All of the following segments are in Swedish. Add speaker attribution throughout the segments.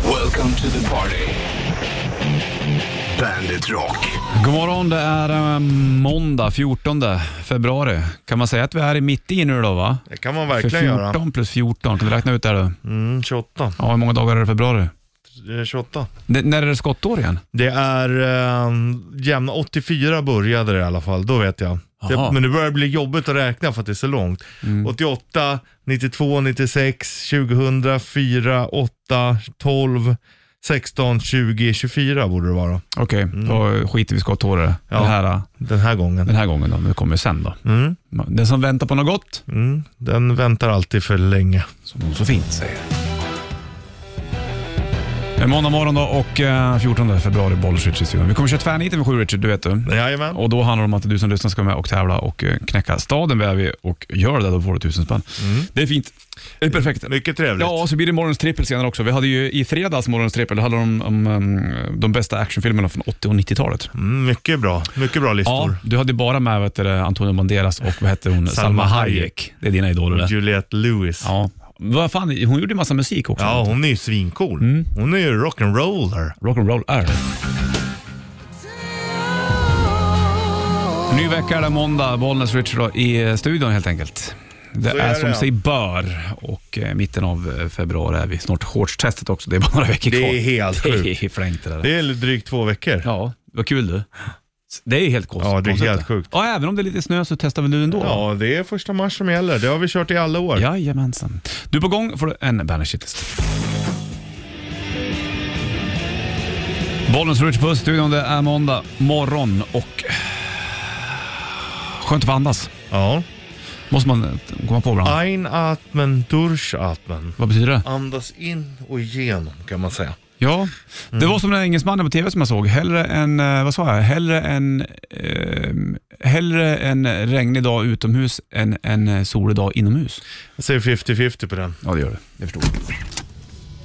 Speaker 1: Welcome to the party. Bandit Rock.
Speaker 2: God morgon, det är eh, måndag 14 februari. Kan man säga att vi är mitt i nu då va?
Speaker 3: Det kan man
Speaker 2: För
Speaker 3: verkligen
Speaker 2: 14
Speaker 3: göra.
Speaker 2: plus 14, kan du räkna ut det här, du?
Speaker 3: Mm, 28.
Speaker 2: Ja, hur många dagar är det i februari?
Speaker 3: Eh, 28.
Speaker 2: Det, när är det skottår igen?
Speaker 3: Det är eh, jämna, 84 började det i alla fall, då vet jag.
Speaker 2: Aha.
Speaker 3: Det, men det börjar bli jobbigt att räkna för att det är så långt.
Speaker 2: Mm.
Speaker 3: 88, 92, 96, 2004, 8, 12, 16, 20, 24 borde det vara
Speaker 2: Okej, då skiter vi i skottåret
Speaker 3: Mm. Ja.
Speaker 2: den, här, eh,
Speaker 3: den här gången.
Speaker 2: den här gången då, men det kommer sen då.
Speaker 3: Mm,
Speaker 2: Den som väntar på något gott,
Speaker 3: mm, den väntar alltid för länge.
Speaker 2: som hon så fint säger. Det är måndag morgon då och eh, 14 februari, Bollswitch i studion. Vi kommer köra tvärniten vid sju Richard, du vet du.
Speaker 3: Jajamän.
Speaker 2: Och då handlar det om att du som lyssnar ska vara med och tävla och eh, knäcka staden vi är vid och gör det, då får du tusen spänn. Det är fint. Mm. Det är perfekt.
Speaker 3: Mycket trevligt.
Speaker 2: Ja, och så blir det morgons trippel senare också. Vi hade ju i fredags morgons trippel, det handlade om, om um, de bästa actionfilmerna från 80 och 90-talet.
Speaker 3: Mm, mycket bra. Mycket bra listor.
Speaker 2: du hade bara med vet du, Antonio Banderas och vad hette hon? Salma
Speaker 3: Salma Hayek.
Speaker 2: Hayek. Det är dina idoler det.
Speaker 3: Juliette Lewis.
Speaker 2: Ja. Vad fan, hon gjorde ju massa musik också.
Speaker 3: Ja, hon är ju svincool. Hon är ju rock'n'roller.
Speaker 2: Rock'n'roll är det. Ny vecka är det måndag, Bollnäs Richard då, i eh, studion helt enkelt. Det
Speaker 3: Så
Speaker 2: är,
Speaker 3: är det,
Speaker 2: som
Speaker 3: ja.
Speaker 2: sig bör och eh, mitten av eh, februari är vi snart shortstestet också. Det är bara några veckor
Speaker 3: Det
Speaker 2: kvar.
Speaker 3: är helt sjukt.
Speaker 2: Det är flängt det där.
Speaker 3: Det är drygt två veckor.
Speaker 2: Ja, vad kul du. Det är helt konstigt.
Speaker 3: Ja, det är
Speaker 2: konstigt,
Speaker 3: helt sjukt.
Speaker 2: Ja, även om det är lite snö så testar väl du ändå?
Speaker 3: Ja, det är första mars som gäller. Det har vi kört i alla år.
Speaker 2: Jajamensan. Du på gång får du en Banner Shitlist. Bollens Rich Puss studion, det är måndag morgon och eh, skönt att få andas.
Speaker 3: Ja.
Speaker 2: Måste man eh, komma på ibland.
Speaker 3: Einatmen, durchatmen.
Speaker 2: Vad betyder det?
Speaker 3: Andas in och igenom kan man säga.
Speaker 2: Ja, det var som den där engelsmannen på tv som jag såg. Hellre en, eh, vad sa jag, hellre en, eh, hellre en regnig dag utomhus än en eh, solig dag inomhus.
Speaker 3: Jag säger 50-50 på den.
Speaker 2: Ja, det gör det. Det förstår jag.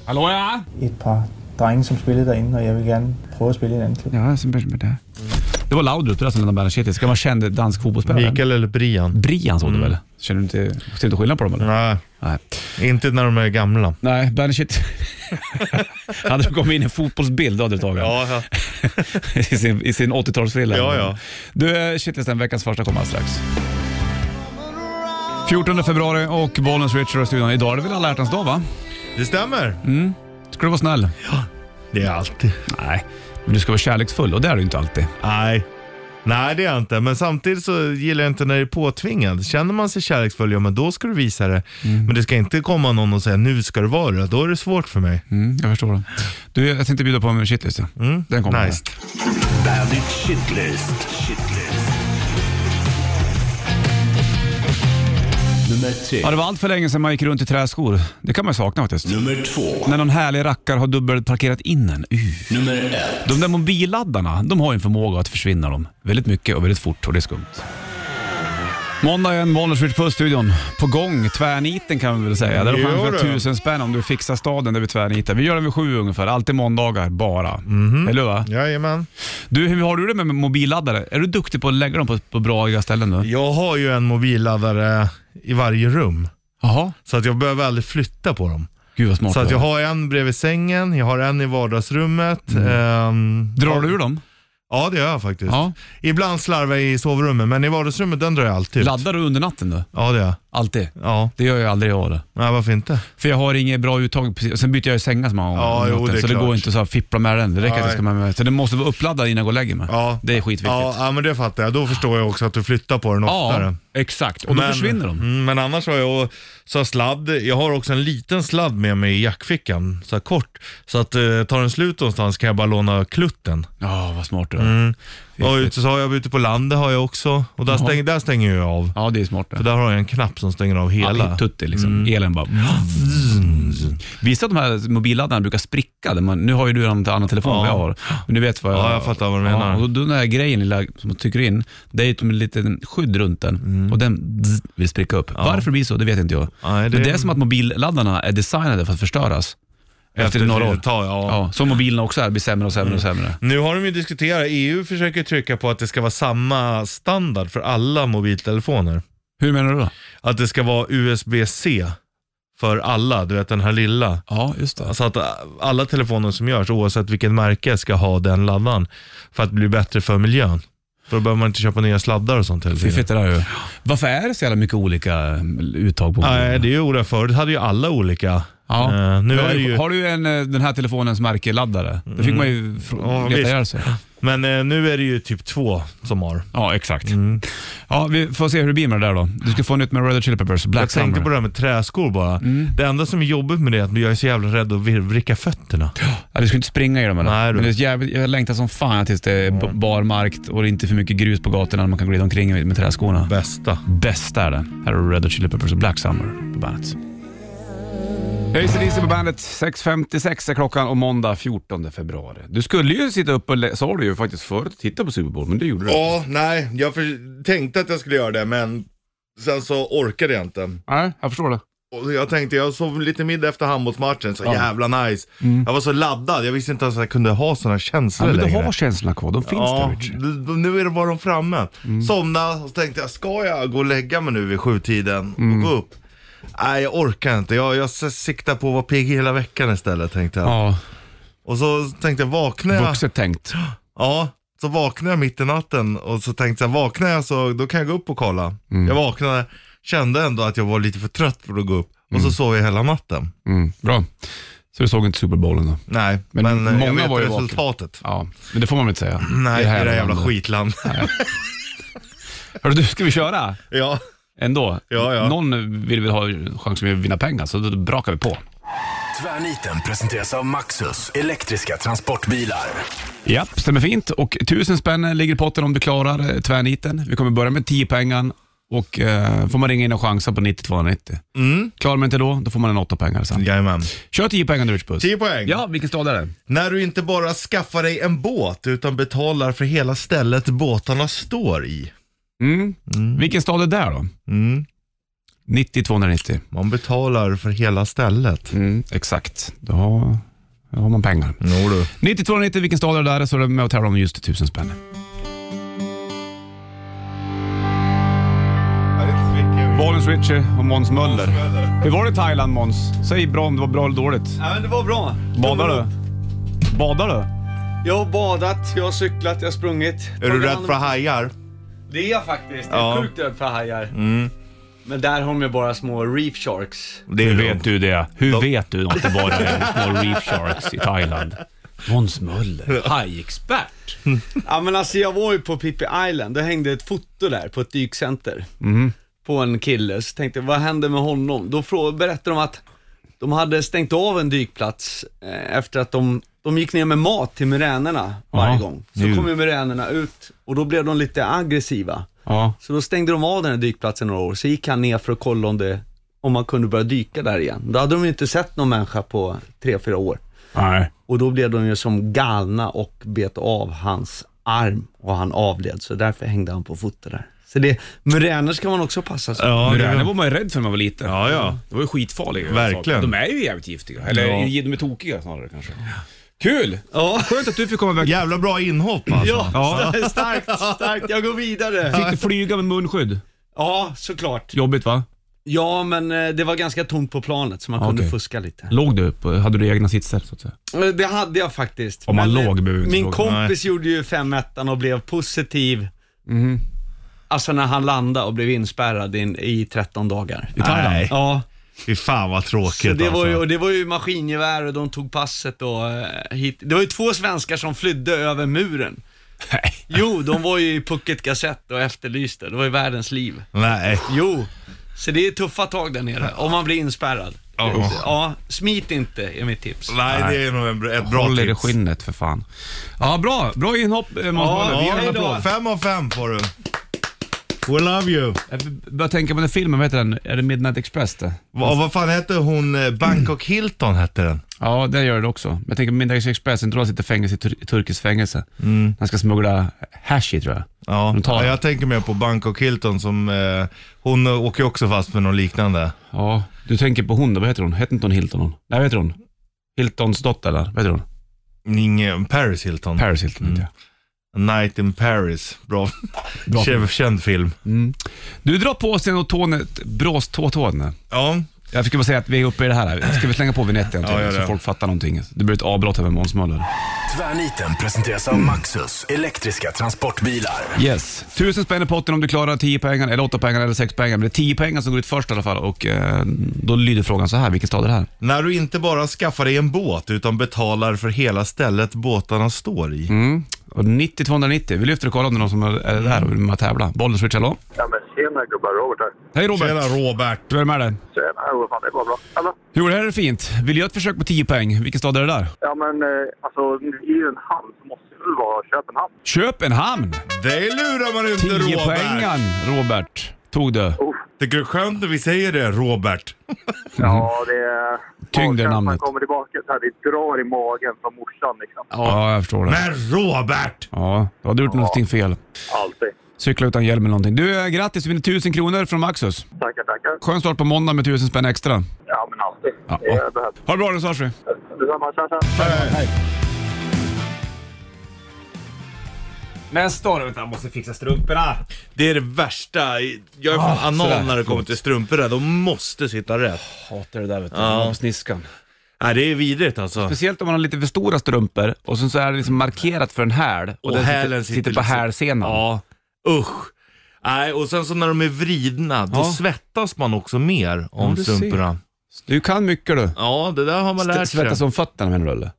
Speaker 2: Hallå ja!
Speaker 4: et par drenge, som spillede derinde, och jag vill gärna prøve at spille i en anden klub.
Speaker 2: Ja, som bärs med det. Det var Laudrup, det där som lämnade Bernays Kitty. Ska man känna dansk fotbollsspelare?
Speaker 3: Mikael eller Brian?
Speaker 2: Brian såg du väl? Känner du inte, ser du inte skillnad på dem eller?
Speaker 3: Nej,
Speaker 2: Nej.
Speaker 3: inte när de är gamla.
Speaker 2: Nej, Bernays Kitty. Hade det kommit in en fotbollsbild då hade du tagit den.
Speaker 3: Ja,
Speaker 2: I sin, i sin 80-talsfrilla.
Speaker 3: Ja, ja.
Speaker 2: Du, eh, shitlisten, veckans första kommer alldeles strax. 14 februari och Bollnäs Richard och studion. Idag är det väl alla hjärtans dag va?
Speaker 3: det stämmer.
Speaker 2: Ska du vara snäll?
Speaker 3: Det är alltid.
Speaker 2: Nej, men du ska vara kärleksfull och det är du inte alltid.
Speaker 3: Nej. Nej, det är jag inte. Men samtidigt så gillar jag inte när det är påtvingat. Känner man sig kärleksfull, ja men då ska du visa det.
Speaker 2: Mm.
Speaker 3: Men det ska inte komma någon och säga nu ska du vara det. Då är det svårt för mig.
Speaker 2: Mm, jag förstår det. Du, jag tänkte bjuda på en shitlist. ja. Den kommer.
Speaker 3: Mm. Nice.
Speaker 1: Bandit Shitlist. Shitlist. Nummer tre.
Speaker 2: Ja, det var allt för länge sedan man gick runt i träskor. Det kan man ju sakna faktiskt.
Speaker 1: Nummer två.
Speaker 2: När någon härlig rackar har dubbelparkerat in en. Uh.
Speaker 1: Nummer ett.
Speaker 2: De där mobilladdarna, de har ju en förmåga att försvinna dem. Väldigt mycket och väldigt fort och det är skumt. Måndag igen, Bonnerswitch på studion. På gång, tvärniten kan vi väl säga. Där de
Speaker 3: Jo
Speaker 2: chansar
Speaker 3: du.
Speaker 2: tusen spänn om du fixar staden där vi tvärnitar. Vi gör den vid sju ungefär, alltid måndagar bara.
Speaker 3: Mhm.
Speaker 2: Eller hur va?
Speaker 3: Jajamän.
Speaker 2: Du, hur har du det med mobilladdare? Är du duktig på att lägga dem på, på bra ställen nu?
Speaker 3: Jag har ju en mobilladdare i varje rum.
Speaker 2: Jaha,
Speaker 3: Så att jag behöver aldrig flytta på dem.
Speaker 2: gud vad smart
Speaker 3: Så att
Speaker 2: du
Speaker 3: jag
Speaker 2: är.
Speaker 3: har en bredvid sängen, jag har en i vardagsrummet. ehm,
Speaker 2: Mm. Drar du ur dem?
Speaker 3: Ja, det gör jag faktiskt.
Speaker 2: Ja.
Speaker 3: Ibland slarvar jag i sovrummet, men i vardagsrummet den drar jag alltid ut.
Speaker 2: Laddar du under natten då?
Speaker 3: Ja, det gör jag.
Speaker 2: Alltid?
Speaker 3: Ja,
Speaker 2: Det gör jag aldrig jag det.
Speaker 3: nej varför inte?
Speaker 2: För jag har inget bra uttag. precis. Och Sen byter jag ju sängar så många gånger.
Speaker 3: Ja,
Speaker 2: om
Speaker 3: jo,
Speaker 2: natten,
Speaker 3: det är
Speaker 2: så det
Speaker 3: klart.
Speaker 2: går inte att så här fippla med den. Det räcker att jag ska med mig. Så den måste vara uppladdad innan jag går och lägger mig.
Speaker 3: Ja.
Speaker 2: Det är skitviktigt.
Speaker 3: Ja, ja, men det fattar jag. Då förstår jag också att du flyttar på den oftare.
Speaker 2: Ja, exakt. Och då försvinner de.
Speaker 3: Mm, men annars har jag så här sladd. Jag har också en liten sladd med mig i jackfickan, så här kort. Så att eh, tar den slut någonstans kan jag bara låna klutten.
Speaker 2: Ja, vad smart du är.
Speaker 3: Mm.
Speaker 2: Fy
Speaker 3: Och
Speaker 2: fan.
Speaker 3: ute, så har jag ute på landet har jag också. Och där, stäng, där stänger jag av.
Speaker 2: Ja, det är smart
Speaker 3: För
Speaker 2: det.
Speaker 3: där har jag en knapp som stänger av
Speaker 2: Ja,
Speaker 3: hela.
Speaker 2: Tutti liksom. Elen bara... Visst Mm. att de här mobilladdarna brukar spricka? där Man, nu har ju du en annan telefon än vad
Speaker 3: Ja.
Speaker 2: jag har. Men du vet vad jag...
Speaker 3: Ja, jag fattar vad du menar.
Speaker 2: och då den här grejen lilla, som man trycker in, det är ju som en liten skydd runt den och den zzz, vill spricka upp. Varför det blir så, det vet inte jag.
Speaker 3: Mm. Nej,
Speaker 2: Men det är som att mobilladdarna är designade för att förstöras. Efter några år.
Speaker 3: Tag, ja.
Speaker 2: Ja, som mobilerna också är, blir sämre och sämre och
Speaker 3: Mm.
Speaker 2: sämre.
Speaker 3: Nu har de ju diskuterat, EU försöker trycka på att det ska vara samma standard för alla mobiltelefoner.
Speaker 2: Hur menar du då?
Speaker 3: Att det ska vara USB-C för alla, du vet den här lilla.
Speaker 2: Ja, just det.
Speaker 3: Alltså att äh, alla telefoner som görs, oavsett vilket märke, ska ha den laddaren för att bli bättre för miljön. För då behöver man inte köpa nya sladdar och sånt hela tiden.
Speaker 2: Fiffigt det där ju. Varför är det så jävla mycket olika mm, uttag på
Speaker 3: Nej, det är ju orätt. Förut hade ju alla olika.
Speaker 2: Ja.
Speaker 3: Eh, nu är det ju...
Speaker 2: Har du en, eh, den här telefonens märkeladdare? Det fick man ju fr-
Speaker 3: Mm. Ja,
Speaker 2: leta
Speaker 3: visst.
Speaker 2: ihjäl sig.
Speaker 3: Men eh, nu är det ju typ två som har.
Speaker 2: Ja, exakt.
Speaker 3: Mm.
Speaker 2: Ja, vi får se hur det blir med det där då. Du ska få nytt med Red Hot Chili Peppers, Black
Speaker 3: Jag tänkte
Speaker 2: Summer.
Speaker 3: på det här med träskor bara. Det enda som är jobbigt med det är att jag är så jävla rädd att vir- vricka fötterna.
Speaker 2: Ja, du ska inte springa i dem eller?
Speaker 3: Nej, du.
Speaker 2: Men det är jävligt, jag längtar som fan tills det är b- bar mark och det är inte för mycket grus på gatorna när man kan glida omkring med med träskorna.
Speaker 3: Bästa.
Speaker 2: Bäst är det. Här har du Red Hot Chili Peppers och Black Summer på bandet. ACDC på bandet, 6.56 är klockan och måndag 14 februari. Du skulle ju sitta upp och, lä- sa du ju faktiskt förut, titta på Super Bowl, men det gjorde du
Speaker 3: Ja, nej. Jag för- tänkte att jag skulle göra det, men sen så orkade jag inte.
Speaker 2: Nej, jag förstår det.
Speaker 3: Och jag tänkte, jag sov lite middag efter handbollsmatchen, så jävla nice. Jag var så laddad, jag visste inte ens att jag kunde ha sådana
Speaker 2: Mm. Ja,
Speaker 3: känslor
Speaker 2: men du
Speaker 3: längre.
Speaker 2: har känslorna kvar, de finns där
Speaker 3: Ja,
Speaker 2: Richie.
Speaker 3: d- d- nu är det bara de framme.
Speaker 2: Mm.
Speaker 3: Somna och så tänkte jag, ska jag gå och lägga mig nu vid sjutiden
Speaker 2: Mm.
Speaker 3: och gå upp? Nej, jag orkar inte. Jag, jag s- siktar på att vara pigg hela veckan istället, tänkte jag.
Speaker 2: Ja,
Speaker 3: Och så tänkte jag, vaknar jag?
Speaker 2: vuxet tänkt.
Speaker 3: Ja, så vaknade jag mitt i natten och så tänkte jag, vaknar jag så då kan jag gå upp och kolla.
Speaker 2: Mm.
Speaker 3: Jag vaknade, kände ändå att jag var lite för trött för att gå upp. Och så sov jag hela natten.
Speaker 2: Mm, bra. Så du såg inte Super Bowlen då?
Speaker 3: Nej,
Speaker 2: Men
Speaker 3: men, eh,
Speaker 2: många
Speaker 3: jag vet
Speaker 2: var ju
Speaker 3: resultatet.
Speaker 2: Ja, men det får man väl inte säga?
Speaker 3: Nej, i det
Speaker 2: här
Speaker 3: här jävla
Speaker 2: landet.
Speaker 3: skitland.
Speaker 2: Hörru du, ska vi köra?
Speaker 3: ja.
Speaker 2: Ändå.
Speaker 3: Ja, ja.
Speaker 2: Någon vill väl ha chansen att vinna pengar, så då brakar vi på.
Speaker 1: Tvärniten presenteras av Maxus elektriska transportbilar.
Speaker 2: Japp, stämmer fint. Och tusen spänn ligger i potten om du klarar eh, tvärniten. Vi kommer börja med 10 pengar och eh, får man ringa in och chansa på 90 290. Mm. Klarar man inte då, då får man en 8 pengar sen.
Speaker 3: Jajamän.
Speaker 2: Kör 10 pengar nu Rich Puss.
Speaker 3: 10 poäng.
Speaker 2: Ja, vilken stad är det?
Speaker 3: När du inte bara skaffar dig en båt utan betalar för hela stället båtarna står i.
Speaker 2: Mm. Vilken stad är det där då?
Speaker 3: Mm.
Speaker 2: 90 290.
Speaker 3: Man betalar för hela stället.
Speaker 2: Mm, exakt. Då har, då har man pengar.
Speaker 3: Jo du.
Speaker 2: 9290, vilken stad är det där? Så är du med och tävlar om just 1000 spänn. Bollens Richie och Måns Möller. Hur var det i Thailand Måns? Säg bra om det var bra eller dåligt.
Speaker 5: Ja, men det var bra.
Speaker 2: Badar du? Badar du?
Speaker 5: Jag har badat, jag har cyklat, jag har sprungit.
Speaker 3: Är du rädd för hajar?
Speaker 5: Det är jag faktiskt. Jag är
Speaker 3: Ja. Mm.
Speaker 5: sjukt rädd för hajar. Men där har de ju bara små reef sharks.
Speaker 3: Det är lugnt.
Speaker 2: du det? Hur vet du att det bara är små reef sharks i Thailand? Måns Möller, hajexpert.
Speaker 5: Ja men alltså jag var ju på Pippi Island, då hängde ett foto där på ett dykcenter.
Speaker 3: Mm.
Speaker 5: På en kille, så tänkte jag, vad hände med honom? Då frå- berättade de att de hade stängt av en dykplats eh, efter att de, de gick ner med mat till muränerna varje
Speaker 2: Ja.
Speaker 5: gång. Så kom ju muränerna ut och då blev de lite aggressiva.
Speaker 2: Ja.
Speaker 5: Så då stängde de av den här dykplatsen några år, så gick han ner för att kolla om, det, om man kunde börja dyka där igen. Då hade de ju inte sett någon människa på tre fyra år.
Speaker 2: Nej.
Speaker 5: Och då blev de ju som galna och bet av hans arm och han avled, så därför hängde han på fotot där. Så det, muräner ska man också passa sig.
Speaker 3: Ja, det
Speaker 2: Muräner
Speaker 3: är...
Speaker 2: var man ju rädd för när man var liten.
Speaker 3: Ja, ja.
Speaker 2: Det var ju skitfarliga.
Speaker 3: Verkligen.
Speaker 2: De är ju jävligt giftiga. Eller
Speaker 3: Ja.
Speaker 2: de är tokiga snarare kanske. Kul!
Speaker 5: Ja,
Speaker 2: Skönt att du fick komma iväg.
Speaker 3: Jävla bra inhopp alltså.
Speaker 5: ja, starkt, starkt. Jag går vidare.
Speaker 2: Fick du flyga med munskydd?
Speaker 5: Ja, såklart.
Speaker 2: Jobbigt va?
Speaker 5: Ja, men eh, det var ganska tomt på planet, så man kunde
Speaker 2: Okej.
Speaker 5: fuska lite.
Speaker 2: Låg du upp? Hade du egna sitser så att säga?
Speaker 5: Eh, Det hade jag faktiskt.
Speaker 2: Om man
Speaker 5: Men, eh,
Speaker 2: låg behöver vi inte
Speaker 5: Min
Speaker 2: fråga.
Speaker 5: kompis gjorde ju 5 och blev positiv.
Speaker 2: Mhm.
Speaker 5: Alltså när han landade och blev inspärrad in, i 13 dagar.
Speaker 2: I Thailand?
Speaker 3: Nej.
Speaker 5: Ja,
Speaker 3: Fy fan vad
Speaker 5: så
Speaker 3: tråkigt
Speaker 5: det
Speaker 3: alltså.
Speaker 5: var, ju, och det var ju maskingevär och de tog passet och eh, hit. Det var ju två svenskar som flydde över muren.
Speaker 2: Nej.
Speaker 5: Jo, de var ju i Pucket Gazette och efterlyste. Det var ju världens liv.
Speaker 3: Nej.
Speaker 5: Jo, så det är tuffa tag där nere om man blir inspärrad. Ja, smit inte är mitt tips.
Speaker 3: Nej, det är nog en, br- ett bra
Speaker 2: Håll er i
Speaker 3: tips.
Speaker 2: skinnet för fan. Ja, bra. Bra inhopp eh, Måns
Speaker 5: Ja,
Speaker 2: Möller. Vi ger en
Speaker 5: hej då.
Speaker 2: applåd.
Speaker 3: Fem av fem får du. We love you.
Speaker 2: Jag börjar tänka på den filmen, vad heter den? Är det Midnight Express det?
Speaker 3: Va, vad fan hette hon? eh, Bangkok Hilton hette den.
Speaker 2: Ja, den gör det också. Men jag tänker på Midnight Express, inte då han sitter i fängelse i tur- turkiskt fängelse. Han ska smuggla hash i tror jag.
Speaker 3: Ja,
Speaker 2: De tar
Speaker 3: ja,
Speaker 2: den.
Speaker 3: jag tänker mer på Bangkok Hilton som, eh, hon eh, åker ju också fast för något liknande.
Speaker 2: Ja, du tänker på hon då, vad heter hon? Hette inte hon Hilton hon? Nej, vad heter hon? Hiltons dotter eller? Vad heter hon?
Speaker 3: Ingen, Paris Hilton.
Speaker 2: Paris Hilton heter jag.
Speaker 3: A Night in Paris. Bra.
Speaker 2: Bra.
Speaker 3: Känd, känd film.
Speaker 2: Du drar på sig en tån, ett bråståtån.
Speaker 3: Ja,
Speaker 2: Jag fick bara säga att vi är uppe i det här. Ska vi slänga på vignetten
Speaker 3: Ja, gör
Speaker 2: till så
Speaker 3: det.
Speaker 2: folk fattar någonting? Det blir ett avbrott här med Måns Möller.
Speaker 1: Tvärniten presenteras av Maxus elektriska transportbilar.
Speaker 2: Yes. Tusen spänn i potten om du klarar 10 pengar, eller 8 pengar eller 6 pengar. Men det är 10 pengar som går ut först i alla fall. Och eh, då lyder frågan så här, vilken stad är det här?
Speaker 3: När du inte bara skaffar dig en båt utan betalar för hela stället båtarna står i.
Speaker 2: Mm. Och 90 290. Vi lyfter och kollar om det är någon som är är där och vill med och tävla. Bollnäs Rich, hallå?
Speaker 6: Ja men tjena gubbar, Robert här.
Speaker 2: Hej Robert!
Speaker 3: Tjena Robert.
Speaker 2: Hur är det med dig?
Speaker 6: Tjena, jo fan det var bra. Hallå?
Speaker 2: Jo, det här är fint. Vill du göra ett försök på 10 poäng? Vilken stad är det där?
Speaker 6: Ja men eh, alltså, ni är ju en hamn så måste det väl vara Köpenhamn?
Speaker 2: Köpenhamn!
Speaker 3: Det lurar man inte
Speaker 2: 10
Speaker 3: Robert.
Speaker 2: poängen Robert. Tog du?
Speaker 3: Tycker du det är skönt när vi säger det Robert?
Speaker 6: Ja, det är...
Speaker 2: Tyngd är
Speaker 6: Ja,
Speaker 2: namnet.
Speaker 6: Man kommer tillbaka så här, det drar i magen från morsan liksom.
Speaker 2: Ja, jag förstår det.
Speaker 3: Men Robert!
Speaker 2: Ja, då har du gjort någonting fel.
Speaker 6: Alltid.
Speaker 2: Cykla utan hjälm eller någonting. Du, eh, grattis! Du vinner 1000 kronor från Maxus.
Speaker 6: Tackar, tackar.
Speaker 2: Skön start på måndag med 1000 spänn extra.
Speaker 6: Ja men alltid.
Speaker 2: Ja.
Speaker 6: Det är behövs.
Speaker 2: Ha det bra nu så hörs vi.
Speaker 6: Detsamma, tja tja.
Speaker 7: Nästa år, vänta, jag måste fixa strumporna.
Speaker 3: Det är det värsta. Jag är
Speaker 2: Ah,
Speaker 3: fan anal när det kommer till strumpor där. De måste sitta rätt.
Speaker 2: Hatar det där vet du.
Speaker 3: Ja.
Speaker 2: Sniskan.
Speaker 3: Nej, det är vidrigt alltså.
Speaker 2: Speciellt om man har lite för stora strumpor och sen så är det liksom markerat för en häl och, den sitter,
Speaker 3: hälen
Speaker 2: sitter, på
Speaker 3: liksom-
Speaker 2: hälsenan.
Speaker 3: Ja, usch. Nej, och sen så när de är vridna, då
Speaker 2: Ja.
Speaker 3: svettas man också mer om
Speaker 2: Ja, du ser.
Speaker 3: strumporna.
Speaker 2: Du kan mycket du.
Speaker 3: Ja, det där har man lärt sig.
Speaker 2: Svettas om fötterna menar du eller?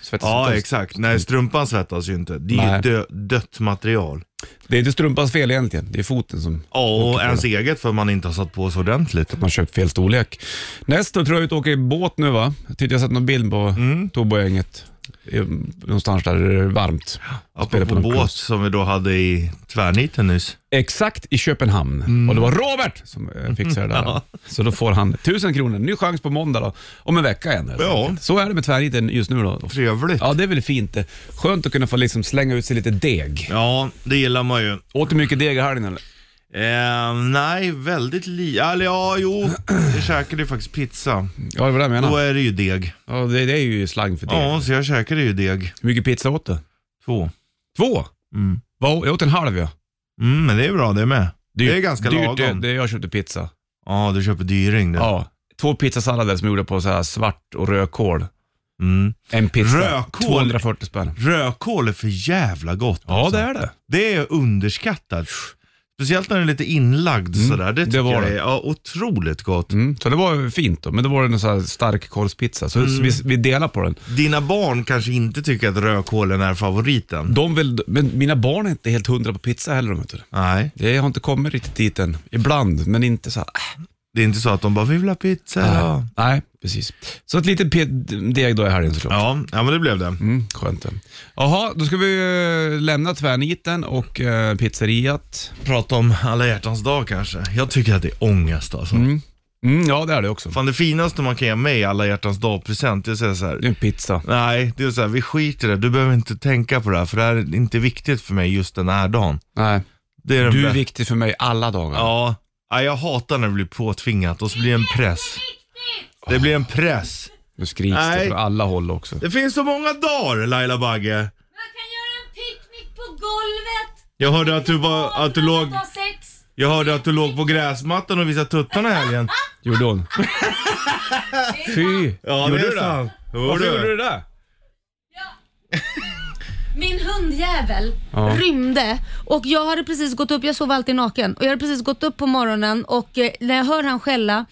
Speaker 2: Svettas
Speaker 3: Ja,
Speaker 2: om-
Speaker 3: exakt. Nej, strumpan svettas ju inte. Det är ju
Speaker 2: Nej.
Speaker 3: dö- dött material.
Speaker 2: Det är inte strumpans fel egentligen. Det är foten som
Speaker 3: Ja, och ens eget för man inte har satt på sig ordentligt.
Speaker 2: man har köpt fel storlek. Nästa tror jag ut och åker i båt nu va? Titta jag har sett någon bild på mm. Tobo-gänget. I- Någonstans där det är varmt.
Speaker 3: Apropå
Speaker 2: Spelar
Speaker 3: på
Speaker 2: någon
Speaker 3: båt
Speaker 2: cruise.
Speaker 3: som vi då hade i tvärniten nyss.
Speaker 2: Exakt i Köpenhamn.
Speaker 3: Mm.
Speaker 2: Och det var Robert som eh, fixade det där. Så då får han 1000 kronor. Ny chans på måndag då. Om en vecka igen. helt
Speaker 3: Ja.
Speaker 2: enkelt. Så är det med tvärniten just nu då.
Speaker 3: Trevligt. Ja.
Speaker 2: Ja, det är väl fint det. Skönt att kunna få liksom slänga ut sig lite deg.
Speaker 3: det gillar man ju.
Speaker 2: Åt du mycket deg i helgen eller?
Speaker 3: Eh, nej, väldigt li... Eller ja, jo. Jag käkade ju faktiskt pizza.
Speaker 2: Ja, det var det jag
Speaker 3: Då
Speaker 2: menade.
Speaker 3: är det ju deg.
Speaker 2: Ja, det, det är ju slang för deg.
Speaker 3: Ja, så jag käkade ju deg.
Speaker 2: Hur mycket pizza åt du?
Speaker 3: Två.
Speaker 2: Två?
Speaker 3: Mm.
Speaker 2: Vad- Jag åt en halv ja.
Speaker 3: Mm, men det är bra det med. det är ganska
Speaker 2: dyrt,
Speaker 3: lagom.
Speaker 2: Det, det, jag köpte pizza.
Speaker 3: Ja, du köper dyring det.
Speaker 2: Ja. Två pizzasallader som gjorde på så här svart och rödkål.
Speaker 3: Mm.
Speaker 2: En pizza.
Speaker 3: Rödkål?
Speaker 2: 240 spänn.
Speaker 3: Rödkål är för jävla gott. alltså.
Speaker 2: Ja, det är det.
Speaker 3: Det är underskattat. Speciellt när den är lite inlagd sådär. Det tycker
Speaker 2: Mm, det var
Speaker 3: jag
Speaker 2: det.
Speaker 3: är ja, otroligt gott.
Speaker 2: Mm. Så det var fint då, men det var en så här stark kolspizza. Så
Speaker 3: Mm.
Speaker 2: vi, vi delar på den.
Speaker 3: Dina barn kanske inte tycker att rödkålen är favoriten.
Speaker 2: De vill, men mina barn är inte helt hundra på pizza heller. Vet du.
Speaker 3: Nej,
Speaker 2: Jag har inte kommit riktigt dit än. Ibland, men inte så här. äh,
Speaker 3: det är inte så att de bara vi vill ha pizza. Ja,
Speaker 2: Nej, precis. Så ett litet pe- deg då i helgen såklart.
Speaker 3: ja, ja men det blev det.
Speaker 2: Mm, skönt det. Jaha, då ska vi eh, lämna tvärniten och eh, pizzeriat.
Speaker 3: Prata om alla hjärtans dag kanske. Jag tycker att det är ångest alltså.
Speaker 2: Mm, ja, det är det också.
Speaker 3: Fan det finaste man kan ge mig i alla hjärtans dag-present, det är så här.
Speaker 2: Det är en pizza.
Speaker 3: Nej, det är så här, vi skiter i det. Du behöver inte tänka på det här för det här är inte viktigt för mig just den här dagen.
Speaker 2: Nej.
Speaker 3: Det är den
Speaker 2: Du är
Speaker 3: bästa-
Speaker 2: viktig för mig alla dagar.
Speaker 3: Ja, nej, jag hatar när det blir påtvingat och så blir det en press. Det blir en press.
Speaker 2: Nu skriks
Speaker 3: Nej.
Speaker 2: det från alla håll också.
Speaker 3: Det finns så många dagar Laila Bagge.
Speaker 8: Man kan göra en picknick på golvet.
Speaker 3: Jag hörde att du, var, att du, låg,
Speaker 8: Ta sex.
Speaker 3: jag hörde att du låg på gräsmattan och visade tuttarna i helgen.
Speaker 2: Gjorde hon? Fy!
Speaker 3: Ja,
Speaker 2: Gjorde du det?
Speaker 3: sant.
Speaker 2: Varför gjorde du
Speaker 3: du?
Speaker 2: det där?
Speaker 8: Min hundjävel
Speaker 2: Ja.
Speaker 8: rymde och jag hade precis gått upp, jag sov alltid naken och jag hade precis gått upp på morgonen och eh, när jag hör han skälla